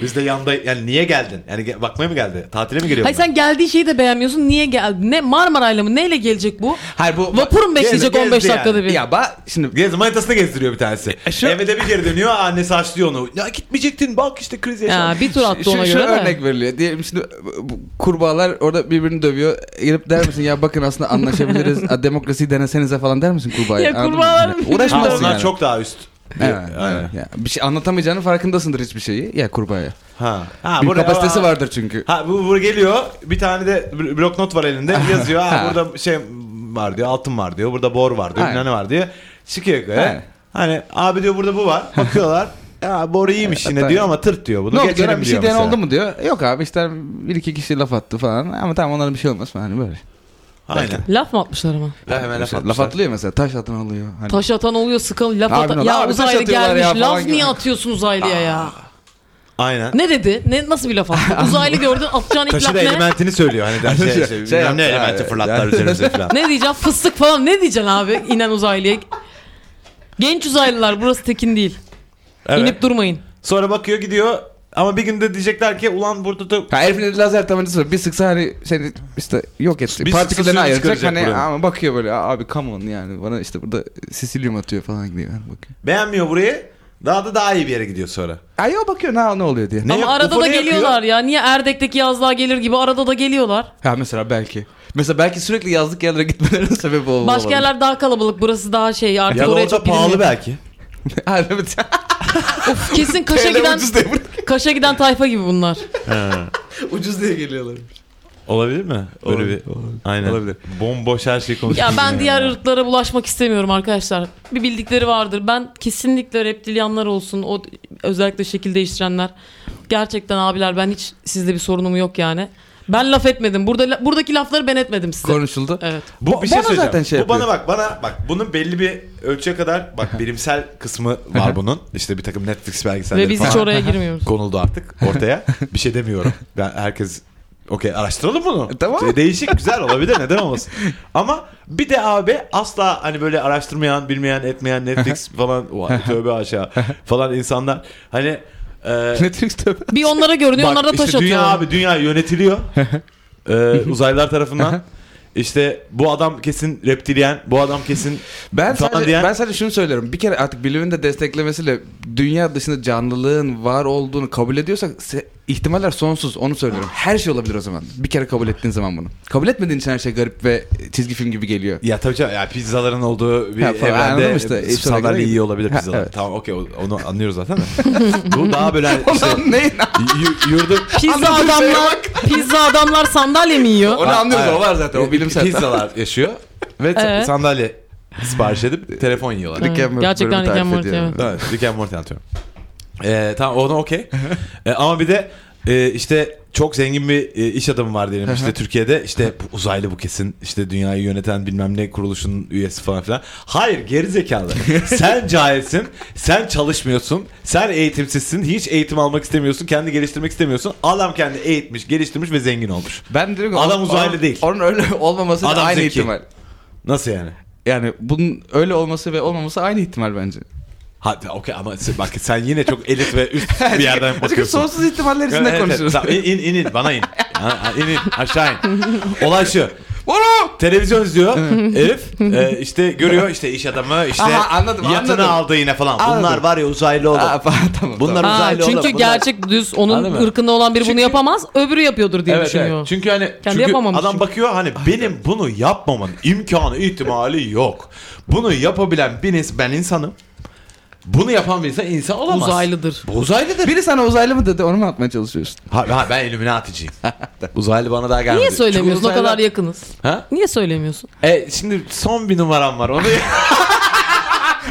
Biz de yanda yani niye geldin? Yani ge- bakmaya mı geldi? Tatile mi geliyor? Hayır sen geldiği şeyi de beğenmiyorsun. Niye geldi? Ne Marmaray'la mı? Neyle gelecek bu? Hayır bu Vapur mu bekleyecek gezdi 15 yani. dakikada bir? ya ba şimdi Gez manitasını gezdiriyor bir tanesi. E, şu- Eve de bir geri dönüyor. Annesi açlıyor onu. Ya gitmeyecektin bak işte kriz yaşandı. Ya bir tur attı şu, ona şu göre de. örnek veriliyor. Diyelim şimdi bu- bu kurbağalar orada birbirini dövüyor. Gelip der misin ya bakın <laughs> aslında anlaşabiliriz. Ha, Demokrasiyi denesenize falan der misin kurbağaya? Ya Anladın mı? kurbağalar Yani birbirini Ha, Uğraşmıyorsun onlar yani. çok daha üst. Evet, Aynen. evet. Ya, bir şey anlatamayacağının farkındasındır hiçbir şeyi. Ya kurbağaya. Ha. Ha, bir buraya- kapasitesi ha. vardır çünkü. Ha bu, bu geliyor. Bir tane de bl- bloknot var <laughs> elinde. Yazıyor. Ha, Ha. burada şey var diyor. Altın var diyor. Burada bor var diyor. Aynen. bilmem ne var diyor. Çıkıyor yukarı. Aynen. Hani abi diyor burada bu <laughs> var. Bakıyorlar. Ya bor iyiymiş yine Aynen. diyor ama tırt diyor. Bunu Ne oldu geçelim gören bir şey diyor diyen mesela. oldu mu diyor. Yok abi işte bir iki kişi laf attı falan. Ama tamam onların bir şey olmaz falan hani böyle. Aynen. Laf mı atmışlar ama? La, hemen laf, Mesela atmışlar. laf atılıyor mesela taş atan oluyor. Hani Taş atan oluyor sıkan laf Abi, atan. ne Ya abi, taş uzaylı atıyorlar gelmiş. ya falan laf gibi. Ah. niye atıyorsun uzaylıya ya? Aynen. Ne dedi? Ne nasıl bir laf <laughs> attı? Uzaylı gördün atacağın ilk Taşı laf da ne? elementini söylüyor. Hani der şey, şey, Şey- şey, şey bilmem ne yaptı, elementi ha, fırlatlar yani. üzerimize <laughs> falan. Ne diyeceğim? Fıstık falan ne diyeceksin abi inen uzaylıya? Genç uzaylılar burası tekin değil. Evet. İnip durmayın. Sonra bakıyor gidiyor. Ama bir günde diyecekler ki ulan burada da Ha herifin elinde lazer tabancası var. Bir sıksa hani seni işte yok etti. Bir sıksa suyunu Partiküllerini ayıracak. çıkaracak Hani buranın. ama bakıyor böyle "Aa, abi come on yani. Bana işte burada sisilyum atıyor falan diye. Yani bakıyor. beğenmiyor burayı. Daha da daha iyi bir yere gidiyor sonra. Ay o bakıyor ne, ne oluyor diye. Ne? Ama arada UFO da ne yapıyor? geliyorlar ya. Niye Erdek'teki yazlığa gelir gibi arada da geliyorlar. Ha mesela belki. Mesela belki sürekli yazlık yerlere <laughs> gitmelerinin sebebi o. Başka yerler daha kalabalık. Burası daha şey artık Ya da oraya orada çok pahalı pahalı belki. Ha evet. <laughs> Of kesin kaşa Öyle giden ucuz diye, <laughs> buraya- kaşa giden tayfa gibi bunlar. ucuz diye geliyorlar. Olabilir mi? Öyle Olabilir, bir. Aynen. Olabilir. Bomboş her şey Ya konuşuyoruz. ben diğer ırklara bulaşmak istemiyorum arkadaşlar. Bir bildikleri vardır. Ben kesinlikle reptilyanlar olsun. O özellikle şekil değiştirenler. Gerçekten abiler ben hiç sizde bir sorunum yok yani. Ben laf etmedim. Burada la- buradaki lafları ben etmedim size. Konuşuldu. Evet. Bu bir şey Bana söyleyeceğim. zaten şey bu bana yapıyor. bak bana bak bunun belli bir ölçüye kadar <laughs> bak bilimsel kısmı var bunun. İşte bir takım Netflix belgeselleri Ve biz falan hiç oraya girmiyoruz. konuldu artık ortaya. bir şey demiyorum. Ben herkes okey araştıralım bunu. E, tamam. De- Değişik güzel olabilir neden olmasın. Ama bir de abi asla hani böyle araştırmayan, bilmeyen, etmeyen Netflix falan Vay, tövbe aşağı falan insanlar hani Ee, Netflix tövbe. Bir onlara görünüyor, Bak, onlara da taş işte dünya atıyorlar. abi dünya <laughs> yönetiliyor. Ee, uzaylılar tarafından. İşte bu adam kesin reptilyen, bu adam kesin Ben Falan sadece, diyen- ben sadece şunu söylüyorum. Bir kere artık bilimin de desteklemesiyle dünya dışında canlılığın var olduğunu kabul ediyorsak se- ihtimaller sonsuz. Onu söylüyorum. Her şey olabilir o zaman. Bir kere kabul ettiğin zaman bunu. Kabul etmediğin için her şey garip ve çizgi film gibi geliyor. Ya tabii canım ya pizzaların olduğu bir Ha, falan, evrende anladım işte. e, İşte insanlar ona göre- iyi olabilir Ha, pizzalar. evet. Tamam okey o- onu anlıyoruz zaten de. <laughs> Bu daha böyle hani işte Ulan ne? yu- yurdu Pizza Anladın şeye adamlar, pizza adamlar sandalye mi yiyor? <laughs> Onu anlıyoruz Aynen. o var zaten. O bilimsel. <laughs> pizzalar yaşıyor ve t- Evet. sandalye sipariş edip telefon yiyorlar. Evet. Gerçekten Rick bölümü and tarif Morty, ediyorum. Evet, Rick and Morty anlatıyorum. <laughs> Ee, tamam onu <laughs> okey. Ee, ama bir de e, işte çok zengin bir e, iş adamı var diyelim işte Türkiye'de işte bu uzaylı bu kesin işte dünyayı yöneten bilmem ne kuruluşunun üyesi falan filan. Hayır <laughs> gerizekalı. sen cahilsin, sen çalışmıyorsun, sen eğitimsizsin, hiç eğitim almak istemiyorsun, kendi geliştirmek istemiyorsun. Adam kendi eğitmiş, geliştirmiş ve zengin olmuş. Ben diyorum ki Adam onun- uzaylı onun- değil. Onun öyle olmaması da Adam aynı zeki. ihtimal. Nasıl yani? Yani bunun öyle olması ve olmaması aynı ihtimal bence. Hadi okey ama sen- bak sen yine çok elit ve <laughs> üst bir yerden Çünkü bakıyorsun. sonsuz <laughs> ihtimaller içinde Evet, evet, konuşuyoruz. tamam. İn, in, in, in. Bana in. Ha, ha, in, in. Aşağı in. Olay şu. Bunu! Televizyon izliyor herif. E, işte görüyor işte iş adamı işte Aha, anladım, yatını anladım. aldı yine falan. Bunlar Anladım. var ya uzaylı oğlum. Aa, falan, <laughs> tamam, Bunlar tamam. Ha, uzaylı oğlum. çünkü bunlar- gerçek düz onun Anladın mı? ırkında olan biri bunu yapamaz, öbürü yapıyordur diye Evet, düşünüyor. evet. Çünkü hani Kendi çünkü yapamamış adam çünkü. bakıyor hani benim bunu yapmamın imkanı ihtimali yok. Bunu yapabilen bir ins- ben insanım. Bunu yapan bir insan insan olamaz. Uzaylıdır. Bu uzaylıdır. Biri sana uzaylı mı dedi onu mu atmaya çalışıyorsun? Ha, ha, ben <laughs> Illuminati'ciyim. uzaylı bana daha gelmedi. Niye Çünkü söylemiyorsun? O uzaylı- kadar yakınız. Ha? Niye söylemiyorsun? E şimdi son bir numaram var. Onu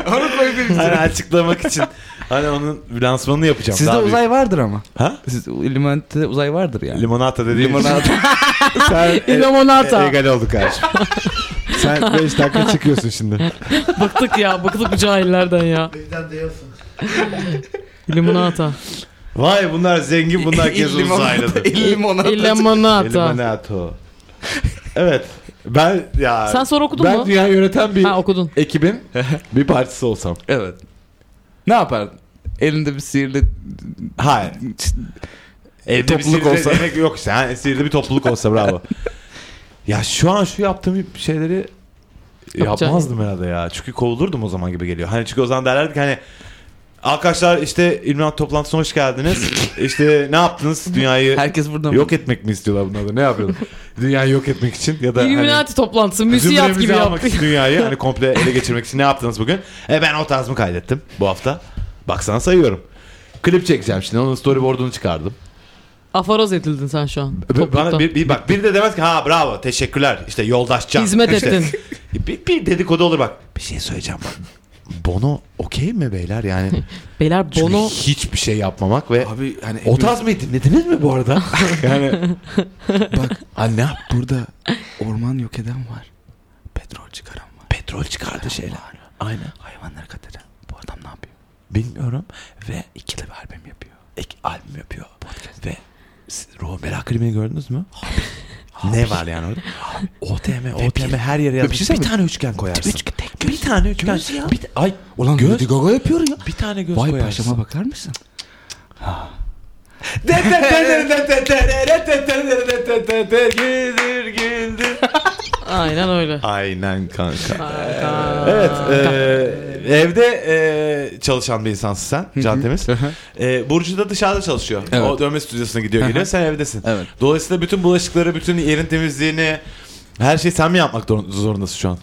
Onu koyabilirim. hani açıklamak için. Hani onun lansmanını yapacağım. Sizde Daha büyük. uzay vardır ama. Ha? Siz Illuminati'de uzay vardır yani. Limonata dediğim Limonata. <laughs> Sen <laughs> e- İlamonata. e- egal oldu kardeşim. <laughs> Sen 5 dakika çıkıyorsun şimdi. Bıktık ya, bıktık bu cahillerden ya. <laughs> Limonata. Vay bunlar zengin <laughs> bunlar kez İllimonata- uzaylıdır. İllimonata. İlamonata. Limonata. Evet. Ben ya Sen sonra okudun ben mu? dünya yöneten bir Ha okudun. ekibin bir parçası olsam. Evet. Ne yapardın? Elinde bir sihirli... Hayır. Evde Topluluk bir sihirli olsa. Demek yok işte. Ha, sihirli bir topluluk olsa <laughs> bravo. ya şu an şu yaptığım şeyleri Yapacak. yapmazdım herhalde ya. Çünkü kovulurdum o zaman gibi geliyor. Hani çünkü o zaman derlerdi ki hani Arkadaşlar işte İlmihat toplantısına hoş geldiniz. <laughs> işte ne yaptınız? Dünyayı Herkes burada mı? yok etmek mi istiyorlar bunlar da? Ne <laughs> yapıyorlar? dünyayı yok etmek için ya da hani Illuminati toplantısı, müsiyat zümremizi şey gibi almak yaptı. için dünyayı <laughs> hani komple ele geçirmek için ne yaptınız bugün? E ben o tarzımı kaydettim bu hafta. Baksana sayıyorum. Klip çekeceğim şimdi. Onun storyboard'unu çıkardım. Afaroz edildin sen şu an. Be- toplulukta. Bana bir, bir bak biri de demez ki ha bravo teşekkürler işte yoldaşça. Hizmet İşte- ettin. Bir, bir dedikodu olur bak. Bir şey söyleyeceğim bak. Bono okey mi beyler yani? Beyler Çünkü Bono hiçbir şey yapmamak ve Abi hani... o tarz mı dinlediniz mi bu <laughs> arada? yani Bak anne yap? burada orman yok eden var. Petrol çıkaran var. petrol çıkardı şeyler. Aynen. Hayvanları katleden. Bu adam ne yapıyor? Bilmiyorum ve İkili bir albüm yapıyor. ek albüm yapıyor. Ve siz Ruhun Bela klibini gördünüz mü? ne var yani orada? OTM, OTM her yere bir yazmış. şey Bir, mi? tane üçgen koyarsın. Üç- tek bir tane üçgen. Göz ya. Bir ta- ay Ulan Göz. Lady Gaga yapıyor ya. bir tane göz Vay koyarsın. paşama bakar mısın? Güldür güldür. aynen öyle. Aynen kanka. Evet, e, <laughs> evde e, çalışan bir insansın sen, Can Temiz. E, Burcu da dışarıda çalışıyor. Evet. O dövme stüdyosuna gidiyor geliyor, sen evdesin. Evet. Dolayısıyla bütün bulaşıkları, bütün yerin temizliğini, her şeyi sen mi yapmak zor- zorundasın şu an?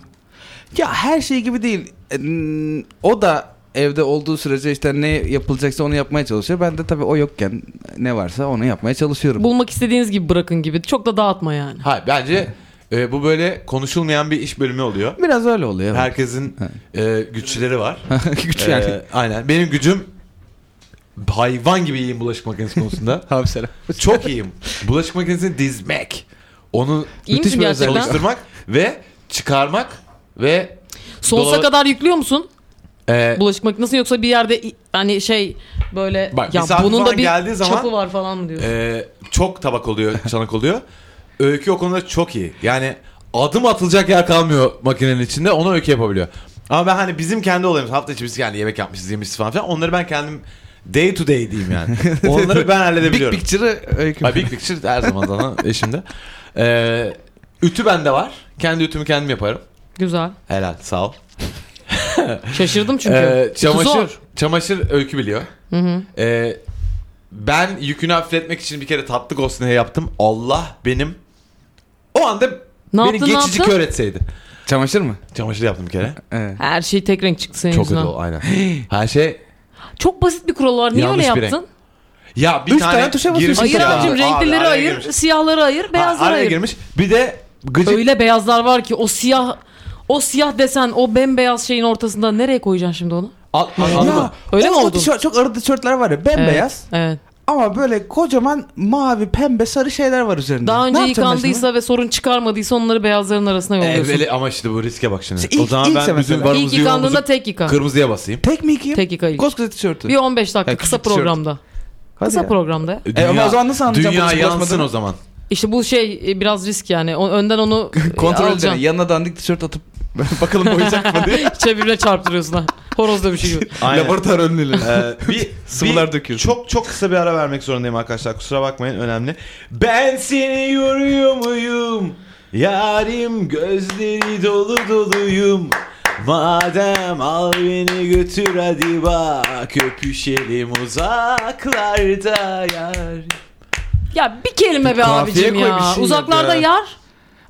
Ya her şey gibi değil. Ee, O da evde olduğu sürece işte ne yapılacaksa onu yapmaya çalışıyor. Ben de tabii o yokken ne varsa onu yapmaya çalışıyorum. Bulmak istediğiniz gibi bırakın gibi. Çok da dağıtma yani. Hayır, bence e, bu böyle konuşulmayan bir iş bölümü oluyor. Biraz öyle oluyor. evet. Herkesin e, güçleri var. <laughs> Güç E, yani. aynen. Benim gücüm hayvan gibi iyiyim bulaşık makinesi <laughs> konusunda. Abi selam. Çok iyiyim. Bulaşık makinesini dizmek. Onu İyi müthiş misin bir gerçekten? çalıştırmak ve çıkarmak ve Sonsuza dolaba- kadar yüklüyor musun e, bulaşık makinesini yoksa bir yerde i- hani şey böyle Bak, ya misafir bunun falan da bir geldiği zaman- çapı var falan mı diyorsun? e, çok tabak oluyor, çanak oluyor. Öykü o konuda çok iyi. Yani adım atılacak yer kalmıyor makinenin içinde. Ona öykü yapabiliyor. Ama ben hani bizim kendi olayımız hafta içi biz yani yemek yapmışız, yemişiz falan filan. Onları ben kendim Day to day diyeyim yani. Onları ben Big halledebiliyorum. Picture'ı öykü. Ay, Big Picture her zaman zaman eşimde. Ee, ütü bende var. Kendi ütümü kendim yaparım. Güzel. Helal sağ ol. Şaşırdım çünkü. Ee, Çünkü çamaşır, zor. çamaşır öykü biliyor. Hı hı. Ee, ben yükünü hafifletmek için bir kere tatlı gosneye yaptım. Allah benim o anda Ne beni yaptın, ne geçici yaptın? kör etseydi. Çamaşır mı? Ee. Çamaşır yaptım bir kere. Evet. Her şey tek renk çıktı senin Çok yüzünden. ödü o <gasps> aynen. Her şey Çok basit bir kural var. Niye Yanlış öyle bir renk. yaptın? ya bir Üç tane, tane tuşa girmiş basıyorsun Ayır Ya, abicim Abi, renklileri araya ayır, girmiş. siyahları ayır, Ha, beyazları araya ayır. girmiş. Bir de gıcık Öyle beyazlar var ki o siyah o siyah desen o bembeyaz şeyin ortasında nereye koyacaksın şimdi onu? Al- al- anladın mı? Öyle mi o oldu? tişört- çok arı tişörtler var ya Evet, bembeyaz Evet. ama böyle kocaman mavi pembe sarı şeyler var üzerinde. Daha Ne önce yapacağım ben şimdi? yıkandıysa ve sorun çıkarmadıysa onları beyazların arasına yolluyorsun. Evveli E, ama işte bu riske bak şimdi. İşte ilk- o zaman ilk ben sefer bütün mesela. varımızı İlk yıkandığında yoğumuzu tek yıka. kırmızıya basayım. Tek mi yıkayayım? Tek yıkayayım. Koskoca tişörtü. Bir 15 dakika Ya, kısa küçük tişört. programda. Hadi Kısa ya. programda. ya. E, ama o zaman nasıl anlayacağım Dünya bu riski yansın basmadığını? o zaman. İşte bu şey e, biraz risk yani. O- <laughs> Önden onu e, Kontrol edin. alacaksın. Yanına dandik tişört atıp bakalım <laughs> boyayacak mı diye. <laughs> Çevirine çarptırıyorsun ha. Horoz şey dövüşü gibi. Aynen. Laboratuvar <laughs> önlülüğü. <laughs> Ee, bir, Sıvılar bir- döküyorsun. Çok çok kısa bir ara vermek zorundayım arkadaşlar. Kusura bakmayın önemli. Ben seni yoruyor muyum? Yarim gözleri dolu doluyum. Madem al beni götür hadi bak öpüşelim uzaklarda yar. <laughs> Ya bir kelime be Kafiye abicim koy bir ya. şey yap Uzaklarda ya. yar.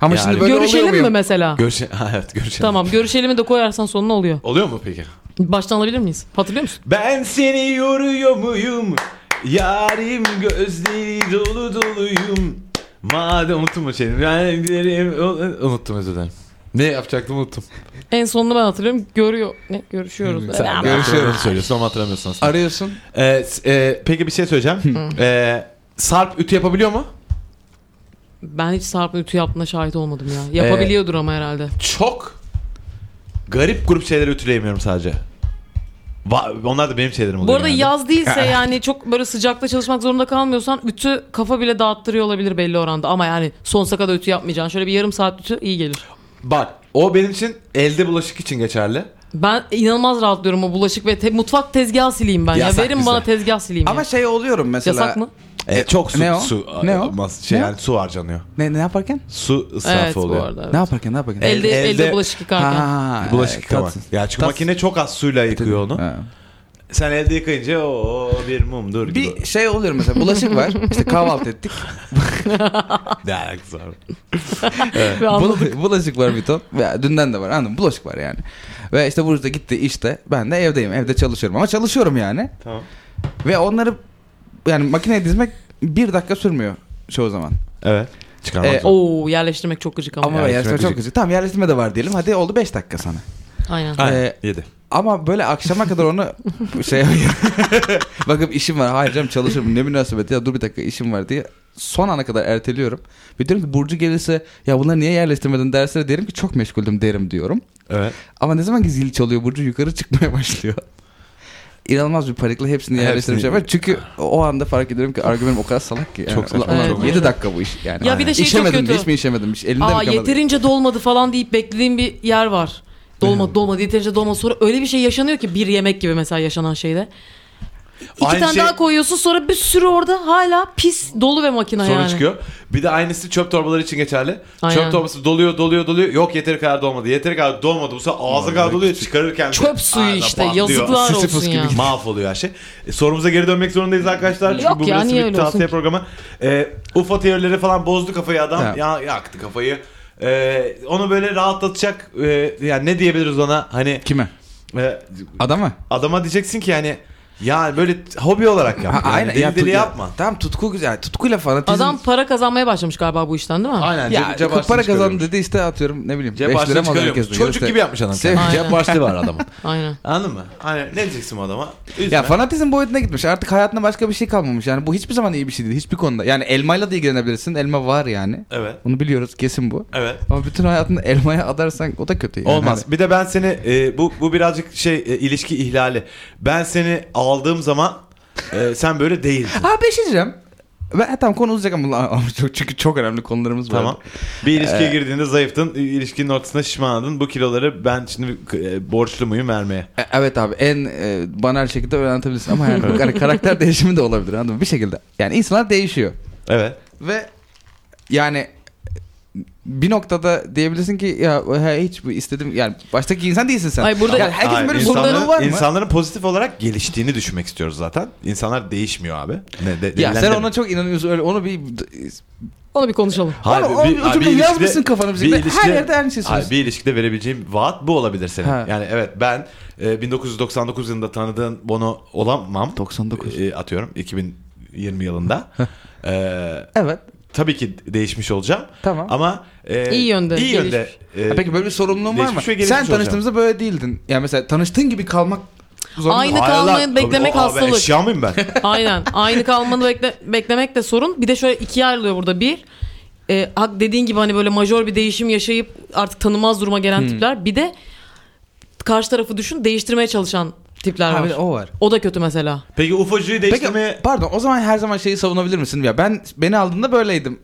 Ama Yani- şimdi böyle oluyor görüşelim mi muyum? mesela? Görüşe <laughs> evet görüşelim. Tamam görüşelimi de koyarsan sonuna oluyor. Oluyor mu peki? Baştan alabilir miyiz? Hatırlıyor musun? Ben seni yoruyor muyum? Yarim gözleri dolu doluyum. Madem unuttum o şeyini. Ben giderim- unuttum özür dilerim. Ne yapacaktım unuttum. En sonunu ben hatırlıyorum. Görüyor. Ne? Görüşüyoruz. Sen Ama- görüşüyorum söylüyorsun ama hatırlamıyorsun aslında. Arıyorsun. Ee, s- e, peki bir şey söyleyeceğim. Ee, Sarp ütü yapabiliyor mu? Ben hiç Sarp'ın ütü yaptığına şahit olmadım ya. Ee, Yapabiliyordur ama herhalde. Çok garip grup şeyleri ütüleyemiyorum sadece. Va- onlar da benim şeylerim oluyor. Bu arada genelde. yaz <laughs> değilse yani çok böyle sıcakta çalışmak zorunda kalmıyorsan ütü kafa bile dağıttırıyor olabilir belli oranda. Ama yani sonsuza kadar ütü yapmayacaksın. Şöyle bir yarım saat ütü iyi gelir. Bak o benim için elde bulaşık için geçerli. Ben inanılmaz rahatlıyorum o bulaşık ve te- mutfak tezgahı sileyim ben. Yasak ya verin bize. bana tezgah sileyim. Ama ya. şey oluyorum mesela. Yasak mı? E, çok su, ne o? su Ne o? olmaz. şey Ne o? yani su harcanıyor. Ne, ne yaparken? Su israfı Evet bu oluyor. arada. evet. Ne yaparken ne yaparken? Elde, elde, elde- bulaşık yıkarken. Bulaşık yıkamak. tatsız. Ya çünkü Tatsız. makine çok az suyla yıkıyor onu. Ha. Sen elde yıkayınca o bir mumdur gibi. Bir şey oluyor mesela bulaşık var. İşte kahvaltı ettik. Ne alakası var? Ve anladım. Bula- bulaşık var bir ton. Ve dünden de var. Anladın mı? Bulaşık var yani. Ve işte Burcu da gitti işte. Ben de evdeyim. Evde çalışıyorum. Ama çalışıyorum yani. Tamam. Ve onları yani makineye dizmek bir dakika sürmüyor çoğu zaman. Evet. Çıkarmak Ee, zor. Oo yerleştirmek çok gıcık ama. Ama Yerleştirme yerleştirme çok gıcık. güzel. Tamam yerleştirme de var diyelim. Hadi oldu 5 dakika sana. Aynen. Aynen, e, yedi. Ama böyle akşama kadar onu şey <laughs> bakıp işim var. Hayır canım çalışırım. Ne münasebet ya dur bir dakika işim var diye son ana kadar erteliyorum. Ve diyorum ki Burcu gelirse ya bunları niye yerleştirmedin derslere derim ki çok meşguldüm derim diyorum. Evet. Ama ne zaman ki zil çalıyor Burcu yukarı çıkmaya başlıyor. İnanılmaz bir panikle hepsini yerleştirmiş Hepsini- Ah. yapar. Çünkü o anda fark ediyorum ki argümanım o kadar salak ki. Yani. Çok saçma, Ulan- çok Ulan 7 dakika bu iş yani. Ya bir de şey çok İşemedim kötü. Hiç mi işemedim? Hiç elinde Aa mi kalmadı? yeterince dolmadı falan deyip beklediğim bir yer var. Dolmadı dolmadı yeterince dolmadı sonra öyle bir şey yaşanıyor ki bir yemek gibi mesela yaşanan şeyde. İki Aynı tane şey- daha koyuyorsun sonra bir sürü orada hala pis dolu ve makina Sonra yani. çıkıyor. Bir de aynısı çöp torbaları için geçerli. Aynen. Çöp torbası doluyor doluyor doluyor. Yok yeteri kadar dolmadı. Yeteri kadar dolmadı. Bu sefer ağzı kadar doluyor çıkarırken. de- Çöp suyu Ağzına işte patlıyor. yazıklar Sisyphus olsun gibi ya. Mahvoluyor her şey. E, sorumuza geri dönmek zorundayız arkadaşlar. Çünkü Yok bu ya, burası niye bir öyle tavsiye olsun? programı. E, UFO teorileri falan bozdu kafayı adam. Ha. Ya, yaktı kafayı. E, onu böyle rahatlatacak e, yani ne diyebiliriz ona hani Kime? e, Adama? adama diyeceksin ki yani ya böyle t- hobi olarak yap. Ha, yani, aynen. Deli Ya, deli tut- ya- yapma. Tamam tutku güzel. Tutkuyla fanatizm. Adam para kazanmaya başlamış galiba bu işten değil mi? Aynen. ya cep harçlığını para kazandı çıkarıyormuş. dedi işte atıyorum ne bileyim. Cep beş harçlığını lira mı alıyor çıkarıyormuş. herkesten? Çocuk İşte- gibi yapmış adam. Sev- Aynen. Cep harçlığı var adamın. Aynen. Anladın mı? Hani ne diyeceksin bu adama? Üzme. Ya fanatizm boyutuna gitmiş. Artık hayatında başka bir şey kalmamış. Yani bu hiçbir zaman iyi bir şey değil. Hiçbir konuda. Yani elmayla da ilgilenebilirsin. Elma var yani. <laughs> Evet. Bunu biliyoruz kesin bu. Evet. Ama bütün hayatını elmaya adarsan o da kötü. Yani. Olmaz. Bir de ben seni e, bu bu birazcık şey e, ilişki ihlali. Ben seni aldığım zaman e, sen böyle değildin. Hani- Ha bir şey diyeceğim. Ben, tamam konu uzayacak ama, <laughs> ama çok, çünkü çok önemli konularımız var. Tamam. E- Bir ilişkiye girdiğinde zayıftın, ilişkinin ortasında şişmanladın. Bu kiloları ben şimdi e, borçlu muyum vermeye? E, Evet abi en e, banal şekilde öğrenebilirsin ama <laughs> yani kar- karakter değişimi de olabilir anladın mı? Bir şekilde. Yani insanlar değişiyor. Evet. Ve yani bir noktada diyebilirsin ki ya he, hiç bu istedim yani baştaki insan değilsin sen. Ay, burada- yani herkesin Hayır, böyle insanların- sorunları var mı? İnsanların pozitif olarak geliştiğini düşünmek istiyoruz zaten. İnsanlar değişmiyor abi. Ne, de, ya sen delilendirme. ona çok inanıyorsun öyle onu bir Onu bir konuşalım. Hayır, Oğlum, oğlum, o cümleyi yazmışsın kafana bir şekilde. Her yerde aynı Hayır, şey söylüyorsun. bir ilişkide verebileceğim vaat bu olabilir senin. Ha. Yani evet ben e, 1999 yılında tanıdığın Bono olamam. 99. E, atıyorum 2020 yılında. e, evet tabii ki değişmiş olacağım. Tamam. Ama e, İyi yönde iyi yönde. e, Ha, Peki böyle bir sorumluluğun var mı? Değişmiş ve gelişmiş Sen tanıştığımızda böyle değildin. Yani mesela tanıştığın gibi kalmak zorunda. Aynı Hayır lan, kalmayı beklemek o- abi, hastalık. Eşya mıyım <laughs> ben? Aynen. Aynı kalmanı bekle- beklemek de sorun. Bir de şöyle ikiye ayrılıyor burada. Bir, e, hak- dediğin gibi hani böyle majör bir değişim yaşayıp artık tanımaz duruma Hmm. gelen tipler. Bir de karşı tarafı düşün değiştirmeye çalışan tipler Ha, var. bir de o... o var. da kötü mesela. Peki UFO'cuyu Peki değiştirmeye... pardon o zaman her zaman şeyi savunabilir misin? Ya ben beni aldığında böyleydim.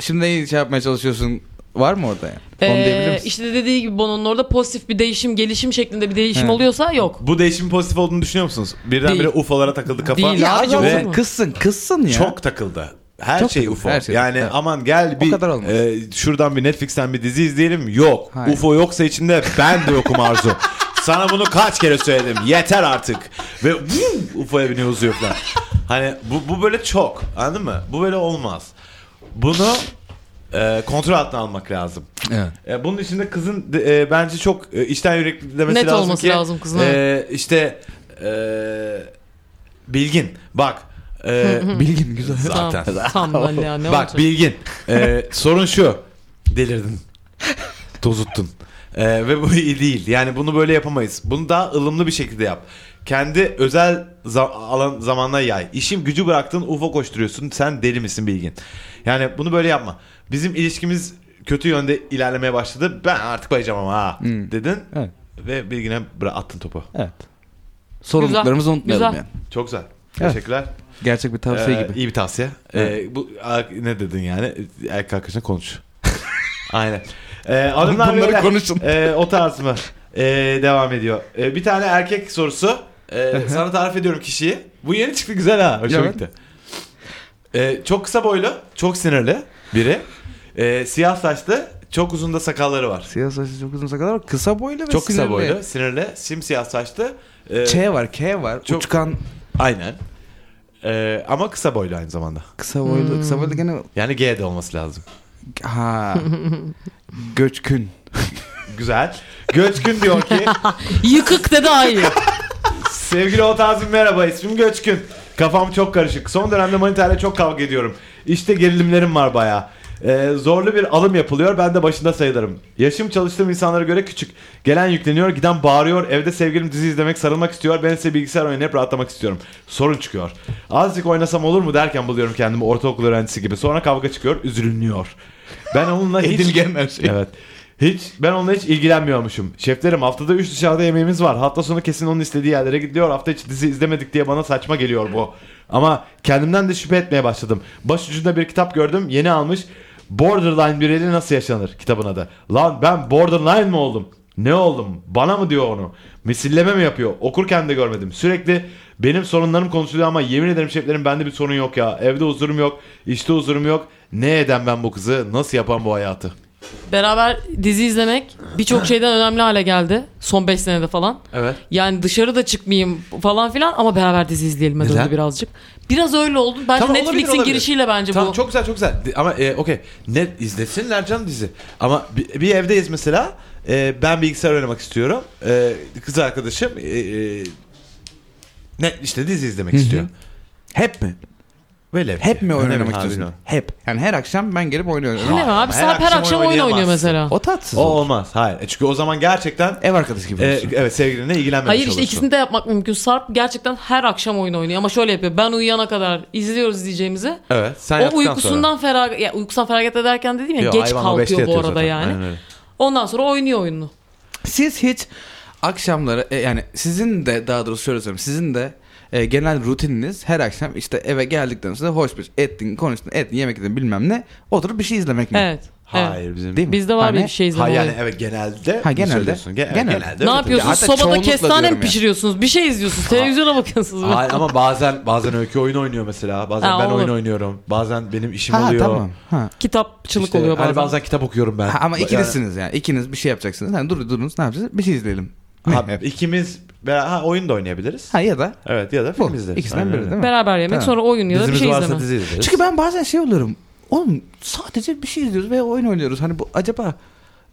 Şimdi neyi şey yapmaya çalışıyorsun? Var mı orada yani? Onu diyebilir Ee, misin? işte dediği gibi Bono'nun orada pozitif bir değişim, gelişim şeklinde bir değişim He. oluyorsa yok. Bu değişimin pozitif olduğunu düşünüyor musunuz? Birdenbire Değil. UFO'lara takıldı kafa. Değil Ya abi, adam olur mu? kızsın kızsın ya. Çok takıldı. Her Çok şey takıldı, UFO. her şey. yani Evet. aman gel O bir kadar olmaz. e, şuradan bir Netflix'ten bir dizi izleyelim. Yok. Hayır. UFO yoksa içinde ben de yokum Arzu. Sana bunu kaç kere söyledim. Yeter artık. Ve vuv, UFO'ya biniyor uzuyor falan. hani bu, bu böyle çok. Anladın mı? Bu böyle olmaz. Bunu e, kontrol altına almak lazım. Evet. E, bunun içinde kızın de- e, bence çok e, içten yürekli demesi Net lazım olması ki. lazım kızın, e, işte e, bilgin. Bak. <laughs> e, Bilgin güzel. zaten. Tamam, <laughs> tamam lan ya, ne Bak olacak? bilgin. Ee, sorun şu. Delirdin. Tozuttun. Ee, ve bu iyi değil. Yani bunu böyle yapamayız. Bunu daha ılımlı bir şekilde yap. Kendi özel za- alan zamanına yay. İşim gücü bıraktın UFO koşturuyorsun. Sen deli misin bilgin? Yani bunu böyle yapma. Bizim ilişkimiz kötü yönde ilerlemeye başladı. Ben artık bayacağım ama ha Hmm. dedin. Evet. Ve bilgine bıra- attın topu. Evet. Sorumluluklarımızı Güzel, unutmayalım güzel. yani. Çok güzel. Evet. Teşekkürler. Gerçek bir tavsiye Ee, gibi. İyi bir tavsiye. Ee, bu a- ne dedin yani? Erkek arkadaşına konuş. <laughs> Aynen. Ee, hanımlar Bunları beyler, konuşun. e, o tarz mı? E, devam ediyor. E, bir tane erkek sorusu. E, sana tarif ediyorum kişiyi. Bu yeni çıktı güzel ha. Hoşuma Evet. gitti. E, çok kısa boylu, çok sinirli biri. E, siyah saçlı, çok uzun da sakalları var. Siyah saçlı çok uzun sakalar var. Kısa boylu ve Çok kısa sinirli. boylu, sinirli, simsiyah saçlı. E, Ç var, K var. Çok- Uçkan aynen. E, ama kısa boylu aynı zamanda. kısa boylu. Kısa Hmm. boylu gene Yani G'de olması lazım. <laughs> ha. Göçkün. Güzel. Göçkün diyor ki Yıkık de daha iyi. sevgili Otazım merhaba ismim Göçkün. Kafam çok karışık. Son dönemde manitayla çok kavga ediyorum. İşte gerilimlerim var bayağı. Ee, zorlu bir alım yapılıyor. Ben de başında sayılırım. Yaşım çalıştığım insanlara göre küçük. Gelen yükleniyor, giden bağırıyor. Evde sevgilim dizi izlemek, sarılmak istiyor. Ben ise bilgisayar oynayıp rahatlamak istiyorum. Sorun çıkıyor. Azıcık oynasam olur mu derken buluyorum kendimi ortaokul öğrencisi gibi. Sonra kavga çıkıyor, üzülünüyor. Ben onunla hiç... Edilgen her şey. Evet. Hiç ben onunla hiç ilgilenmiyormuşum. Şeflerim haftada 3 dışarıda yemeğimiz var. Hafta sonu kesin onun istediği yerlere gidiyor. Hafta içi dizi izlemedik diye bana saçma geliyor bu. Ama kendimden de şüphe etmeye başladım. Başucunda bir kitap gördüm. Yeni almış. Borderline bireyli nasıl yaşanır kitabın adı. Lan ben borderline mi oldum? Ne oldum? Bana mı diyor onu? Misilleme mi yapıyor? Okurken de görmedim. Sürekli benim sorunlarım konuşuluyor ama yemin ederim şeflerim bende bir sorun yok ya. Evde huzurum yok. işte huzurum yok. Ne eden ben bu kızı? Nasıl yapan bu hayatı? Beraber dizi izlemek <clears throat> birçok şeyden önemli hale geldi. Son 5 senede falan. Evet. Yani dışarı da çıkmayayım falan filan ama beraber dizi izleyelim Neden? döndü birazcık. Biraz öyle oldu. Bence Tamam, olabilir, Netflix'in olabilir. girişiyle bence Tamam bu. çok güzel çok güzel Di- ama e, okey ne izlesinler canım dizi ama bir, bir evdeyiz mesela E, ben bilgisayar oynamak istiyorum E, kız arkadaşım e, e, ne işte dizi izlemek istiyor Hep mi? böyle Hep mi Öyle oynamak bir- istiyorsun? Hep. Yani her akşam ben gelip oynuyorum. Ne var abi? Her Serap her akşam akşam oyun oynuyor oynayamazsın. mesela. O tatsız. o olur. olmaz hayır E, çünkü o zaman gerçekten Ev arkadaşı gibi. e, olursun. evet sevgilinle ilgilenmemiş Hayır işte olursun. ikisini de yapmak mümkün. Sarp gerçekten her akşam oyun oynuyor ama şöyle yapıyor. Ben uyuyana kadar izliyoruz izleyeceğimizi. evet sen o yattıktan uykusundan ferag ya uykusundan feragat ederken dediğim ya Yo, geç hayvan o beşte kalkıyor bu yatıyor arada zaten. Aynen yani. öyle. Ondan sonra oynuyor oyununu. Siz hiç akşamları e, yani sizin de daha doğrusu şöyle söyleyeyim sizin de e, genel rutininiz her akşam işte eve geldikten sonra hoş bir ettin, konuştun, ettin, yemek yedin bilmem ne. Oturup bir şey izlemek mi? Evet. evet. Hayır bizim. Değil mi? Bizde var Hani- bir şey izleme Ha yani olayı. evet genelde. Ha, mi genelde. söylüyorsun? Gen- Genelde. genelde. Ne evet. yapıyorsunuz? hatta Sobada çoğunlukla kestane diyorum mi yani. pişiriyorsunuz? Bir şey izliyorsunuz. Televizyona bakıyorsunuz. Hayır ama bazen bazen öykü oyun oynuyor mesela. Bazen Ha, ben oyun olur. oynuyorum. Bazen benim işim Ha oluyor. tamam. Ha. <laughs> Kitapçılık İşte, oluyor bazen. Hani bazen kitap okuyorum ben. Ha, ama Yani- ikilisiniz yani. İkiniz bir şey yapacaksınız. Hani dur durunuz ne yapacağız? Bir şey izleyelim. Ha, Ne? ikimiz beraber ha, oyun da oynayabiliriz. ha ya da Evet ya da bu. film izleriz. İkisinden Aynen biri öyle. değil mi? Beraber yemek Tamam. sonra oyun ya da bir Dizimiz şey varsa izleme. dizi izleriz. Çünkü ben bazen şey oluyorum. Oğlum sadece bir şey izliyoruz ve oyun oynuyoruz. Hani bu acaba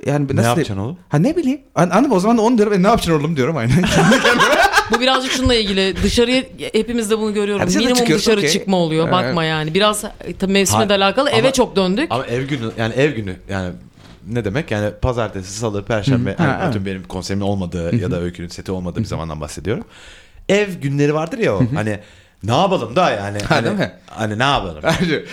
yani nasıl ne yapacaksın oğlum? Ha ne bileyim. An anladım o zaman da onu diyorum. E, ne yapacaksın oğlum <laughs> diyorum aynen. <laughs> Bu birazcık şununla ilgili. Dışarıya hepimiz de bunu görüyoruz. Ha, dışarı Minimum çıkıyoruz, dışarı okey. çıkma oluyor. Evet. Bakma yani. Biraz e, tabii mevsime Hayır, de alakalı. ama- Eve çok döndük. Ama ev günü yani ev günü yani ne demek yani pazartesi, salı, perşembe Hı. Ha, yani evet. bütün benim konserimin olmadığı ya da öykünün seti olmadığı bir zamandan bahsediyorum. Ev günleri vardır ya o hani ne yapalım da yani hani, değil mi? hani ne yapalım? Hayır,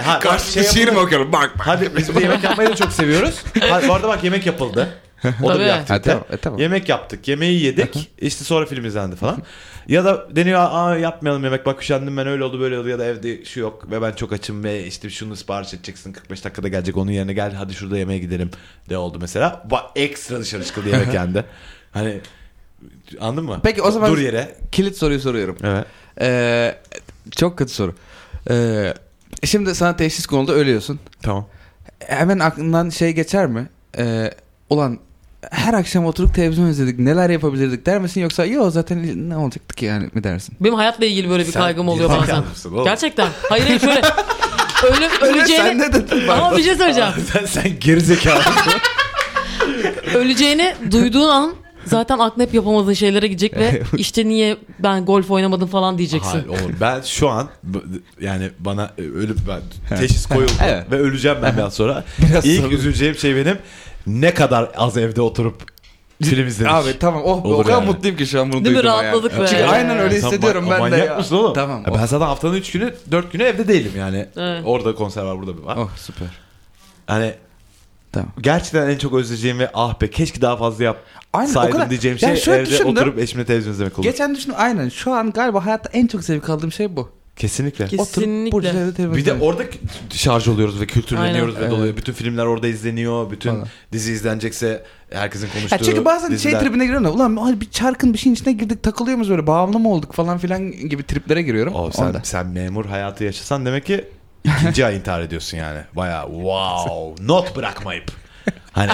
ha, Hayır, şey şiir mi yapalım. okuyorum? Bak bak. Hadi biz de yemek yapmayı da çok seviyoruz. Ha, bu arada bak yemek yapıldı. O da bir Tabii. aktivite. Ha, tamam, e, tamam. Yemek yaptık, yemeği yedik. işte sonra film izlendi falan. Ya da deniyor aa yapmayalım yemek bak üşendim ben öyle oldu böyle oldu ya da evde şu yok ve ben çok açım ve işte şunu sipariş edeceksin 45 dakikada gelecek onun yerine gel hadi şurada yemeğe gidelim de oldu mesela. Ba ekstra dışarı çıkıldı <laughs> yemek yendi. Hani anladın mı? Peki, o zaman- Dur yere. Kilit soruyu soruyorum. Evet. Ee, çok kötü soru. Ee, şimdi sana teşhis konuldu ölüyorsun. Tamam. Hemen aklından şey geçer mi? Ee, ulan her akşam oturup televizyon izledik neler yapabilirdik der misin yoksa yok zaten ne olacaktı ki yani mi dersin? Benim hayatla ilgili böyle bir Sen kaygım oluyor gerizekalı bazen. mısın <laughs> oğlum? Gerçekten. Hayır <laughs> hayır şöyle. Ölüm, Sen öleceğini... ne <laughs> dedin? Ama bir şey söyleyeceğim. <laughs> sen sen gerizekalı. <laughs> öleceğini duyduğun an zaten aklına hep yapamadığın şeylere gidecek <laughs> ve işte niye ben golf oynamadım falan diyeceksin. Hayır oğlum ben şu an b- yani bana e, ölüp <laughs> ben teşhis koyuldu Evet. ve öleceğim ben biraz sonra. <laughs> Biraz İlk sonra. üzüleceğim şey benim ne kadar az evde oturup film izlemiş. Abi tamam oh be, Olur o kadar yani. mutluyum ki şu an bunu Değil mi? duydum Rahatladık yani. be. Çünkü aynen öyle Sen ma- hissediyorum ben de manyak ya. mısın oğlum? Tamam. Ya oh. Ben zaten haftanın 3 günü 4 günü evde değilim yani. Evet. Orada konser var burada bir var. Oh süper. Hani Tamam. gerçekten en çok özleyeceğim ve ah be keşke daha fazla yap Aynen, o saydım kadar- diyeceğim şey Yani şöyle evde düşündüm. oturup eşimle televizyon izlemek olur. Geçen düşündüm aynen şu an galiba hayatta en çok zevk aldığım şey bu. Kesinlikle. Oturup Burcu Kesinlikle. evde televizyon. Bir de orada şarj oluyoruz ve kültürleniyoruz Aynen. ve doluyor. Bütün filmler orada izleniyor. Bütün Falan. dizi izlenecekse herkesin konuştuğu Ya çünkü bazen diziler. şey tribine giriyorum da ulan ay bir çarkın bir şeyin içine girdik takılıyor muyuz böyle bağımlı mı olduk falan filan gibi triplere giriyorum. Oo, sen, Onda. sen memur hayatı yaşasan demek ki ikinci ay intihar ediyorsun yani. Baya wow not bırakmayıp. <laughs> Hani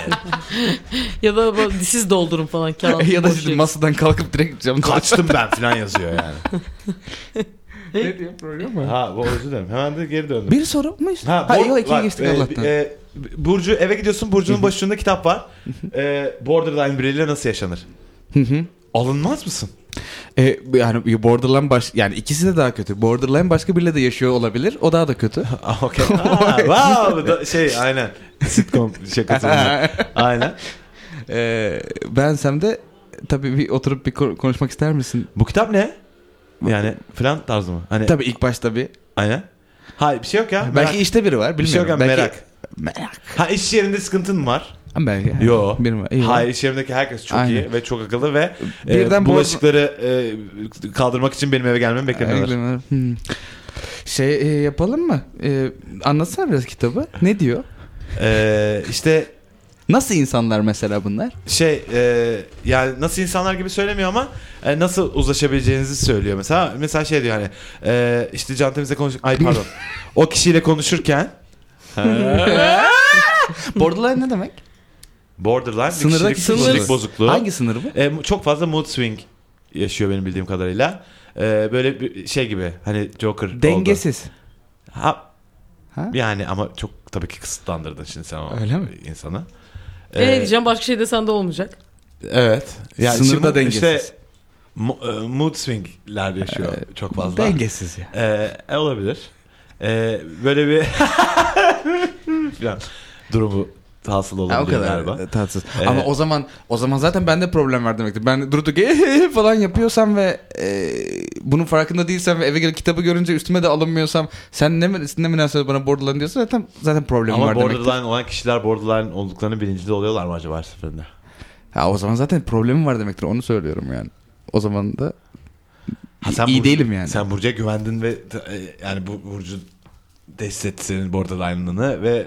Ya da böyle siz doldurun falan. Kenan, <laughs> ya da boş işte verin. masadan kalkıp direkt camdan kaçtım ben falan yazıyor yani. <laughs> ne diyor program var? Ha bu özür dilerim. Hemen de geri döndüm. Bir soru mu? Ha, Ee, Bor- yok ikiye bak, geçtik e, Allah'tan. e, Burcu eve gidiyorsun. Burcu'nun başucunda kitap var. E, borderline bireyle nasıl yaşanır? Hı hı. Alınmaz mısın? E, yani Borderline baş yani ikisi de daha kötü. Borderline başka biriyle de yaşıyor olabilir. O daha da kötü. <laughs> Ah, Okey. Aa, wow. Da- şey aynen. Sitcom şakası. bunlar. <laughs> aynen. e, bensem de tabii bir oturup bir ko- konuşmak ister misin? Bu kitap ne? Yani falan tarzı mı? Hani Tabii ilk başta bir. aynen. Hayır bir şey yok ya. Merak. Belki işte biri var. bir şey yok ya Bilmiyorum. Belki- merak. Merak. Ha iş yerinde sıkıntın mı var? Belki. Yo. Bilmiyorum. İyi. Hayır iş yerindeki herkes çok Aynen. iyi ve çok akıllı ve Birden e, boğaz- bulaşıkları e, kaldırmak için benim eve gelmemi beklemiyorlar. Eklemiyorlar. Hmm. Şey e, yapalım mı? E, anlatsana biraz kitabı. Ne diyor? E, işte Nasıl insanlar mesela bunlar? şey e, yani nasıl insanlar gibi söylemiyor ama e, nasıl uzlaşabileceğinizi söylüyor mesela mesela şey diyor hani e, işte Can Temiz'le konuş ay <laughs> pardon o kişiyle konuşurken Borderline ne demek? borderline bir Sınırdaki kişilik, kişilik sınırsız. bozukluğu Hangi sınır bu? E, mu- çok fazla mood swing yaşıyor benim bildiğim kadarıyla E, böyle bir şey gibi hani Joker oldu. Dengesiz. ha, Ha? yani ama çok tabii ki kısıtlandırdın şimdi sen o Öyle mi? insanı E, E, diyeceğim başka şey desen de olmayacak. evet Sınırda şimdi dengesiz. işte mo- e, mood swingler yaşıyor E, çok fazla Dengesiz ya. Ee, e, olabilir. Ee, böyle bir <laughs> Falan durumu hasıl Ha, o olabilir kadar galiba. e, tatsız. Ee, Ama o zaman o zaman zaten bende problem var demektir. Ben durduk "Eh" falan yapıyorsam ve e, bunun farkında değilsem ve eve gelip kitabı görünce üstüme de alınmıyorsam sen ne, ne münasebet bana borderline diyorsun zaten zaten problemim Ama var borderline demektir. olan kişiler borderline olduklarını bilincinde oluyorlar mı acaba her seferinde? Ha, o zaman zaten problemim var demektir onu söylüyorum yani. O zaman da Ha, sen iyi Burcu- değilim yani. Sen Burcu'ya güvendin ve e, yani bu Burcu destekti senin borderline'ını ve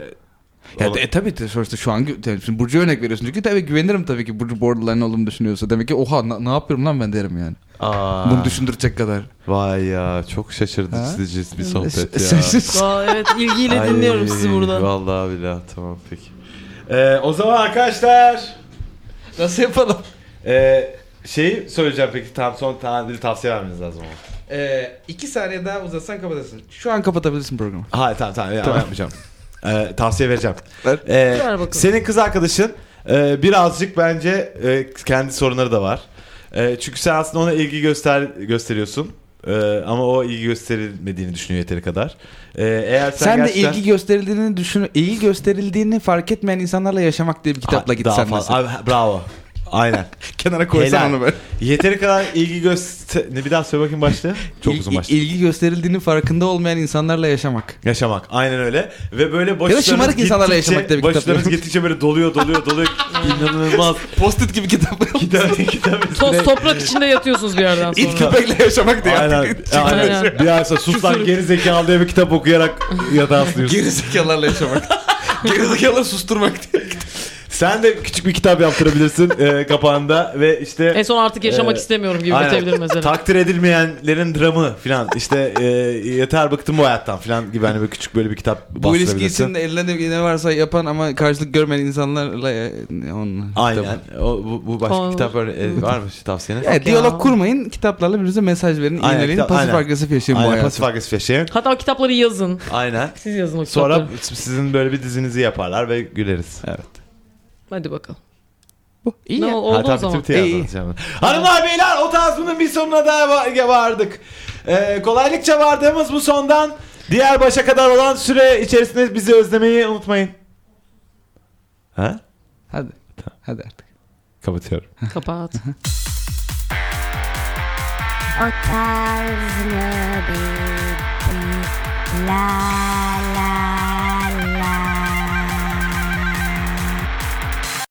Ya Ola- de- e, tabii de sonuçta şu an gü- tabii şimdi Burcu'ya örnek veriyorsun çünkü tabii güvenirim tabii ki Burcu borderline olduğumu düşünüyorsa. Demek ki oha na- ne yapıyorum lan ben derim yani. Aa, Bunu düşündürecek kadar. Vay ya çok Ha? şaşırtıcı bir sohbet ya. Sensiz. Aa, evet ilgiyle dinliyorum sizi burada. Vallahi billahi tamam peki. Ee, o zaman arkadaşlar <laughs> Nasıl yapalım? ee, şeyi söyleyeceğim peki tam son tane bir tavsiye vermeniz lazım ama. Ee, iki saniye daha uzatsan kapatasın. Şu an kapatabilirsin programı. Hayır tamam tamam, ya, ben yapmayacağım. Ee, tavsiye vereceğim. Ver. Ee, Ver bakalım. senin kız arkadaşın e, birazcık bence e, kendi sorunları da var. E, çünkü sen aslında ona ilgi göster gösteriyorsun. E, ama o ilgi gösterilmediğini düşünüyor yeteri kadar. E, eğer sen, Sen, de gerçekten- ilgi gösterildiğini düşün, ilgi gösterildiğini fark etmeyen insanlarla yaşamak diye bir kitapla Ha, git daha sen fazla- mesela. Abi, ha, bravo. Aynen. Kenara Helal. koysan onu böyle. <laughs> Yeteri kadar ilgi göster... Ne bir daha söyle bakayım başta. Çok İl- uzun başta. İlgi gösterildiğinin farkında olmayan insanlarla yaşamak. Yaşamak. Aynen öyle. Ve böyle boşlarınız şımarık gittikçe- insanlarla yaşamak tabii ki Boşlarınız tabii. gittikçe böyle doluyor doluyor doluyor. İnanılmaz. Post-it gibi kitap. <laughs> Kitap kitap. Toz toprak içinde yatıyorsunuz bir yerden sonra. İt köpekle yaşamak diye Aynen. artık. Aynen. Aynen. Bir ay sonra sus lan geri zekalı diye bir kitap okuyarak yatağa sığıyorsun. <laughs> Gerizekalarla yaşamak. Gerizekaları susturmak diye. Sen de küçük bir kitap yaptırabilirsin e, kapağında ve işte En son artık yaşamak Ee, istemiyorum gibi Aynen. bitebilir mesela. Takdir edilmeyenlerin dramı filan. İşte e, yeter bıktım bu hayattan filan gibi hani böyle küçük böyle bir kitap Bu ilişki bastırabilirsin. için de ellerinde ne varsa yapan ama karşılık görmeyen insanlarla ya, onunla. Aynen. O, bu, bu başka Ol- kitap öyle, <laughs> e, var mı tavsiyeniz? Evet, ya. diyalog kurmayın, kitaplarla birbirinize mesaj verin, Aynen, iğneleyin, kitap- pasif aynen. agresif yaşayın bu Aynen hayatı. pasif agresif yaşayın. Hatta kitapları yazın. Aynen. Siz yazın o kitapları. şey. Sonra sizin böyle bir dizinizi yaparlar ve güleriz. Evet. Hadi bakalım. Bu, iyi Ne ya. o- oldu Ha, o tabii, zaman. tabii, tabii, İyi. tabii. Hanımlar beyler o tazminatın bir sonuna daha va- vardık. Ee, kolaylıkça vardığımız bu sondan diğer başa kadar olan süre içerisinde bizi özlemeyi unutmayın. Ha? Hadi. Hadi artık. Kapatıyorum. Kapat. O tarz mı bir- bir- La la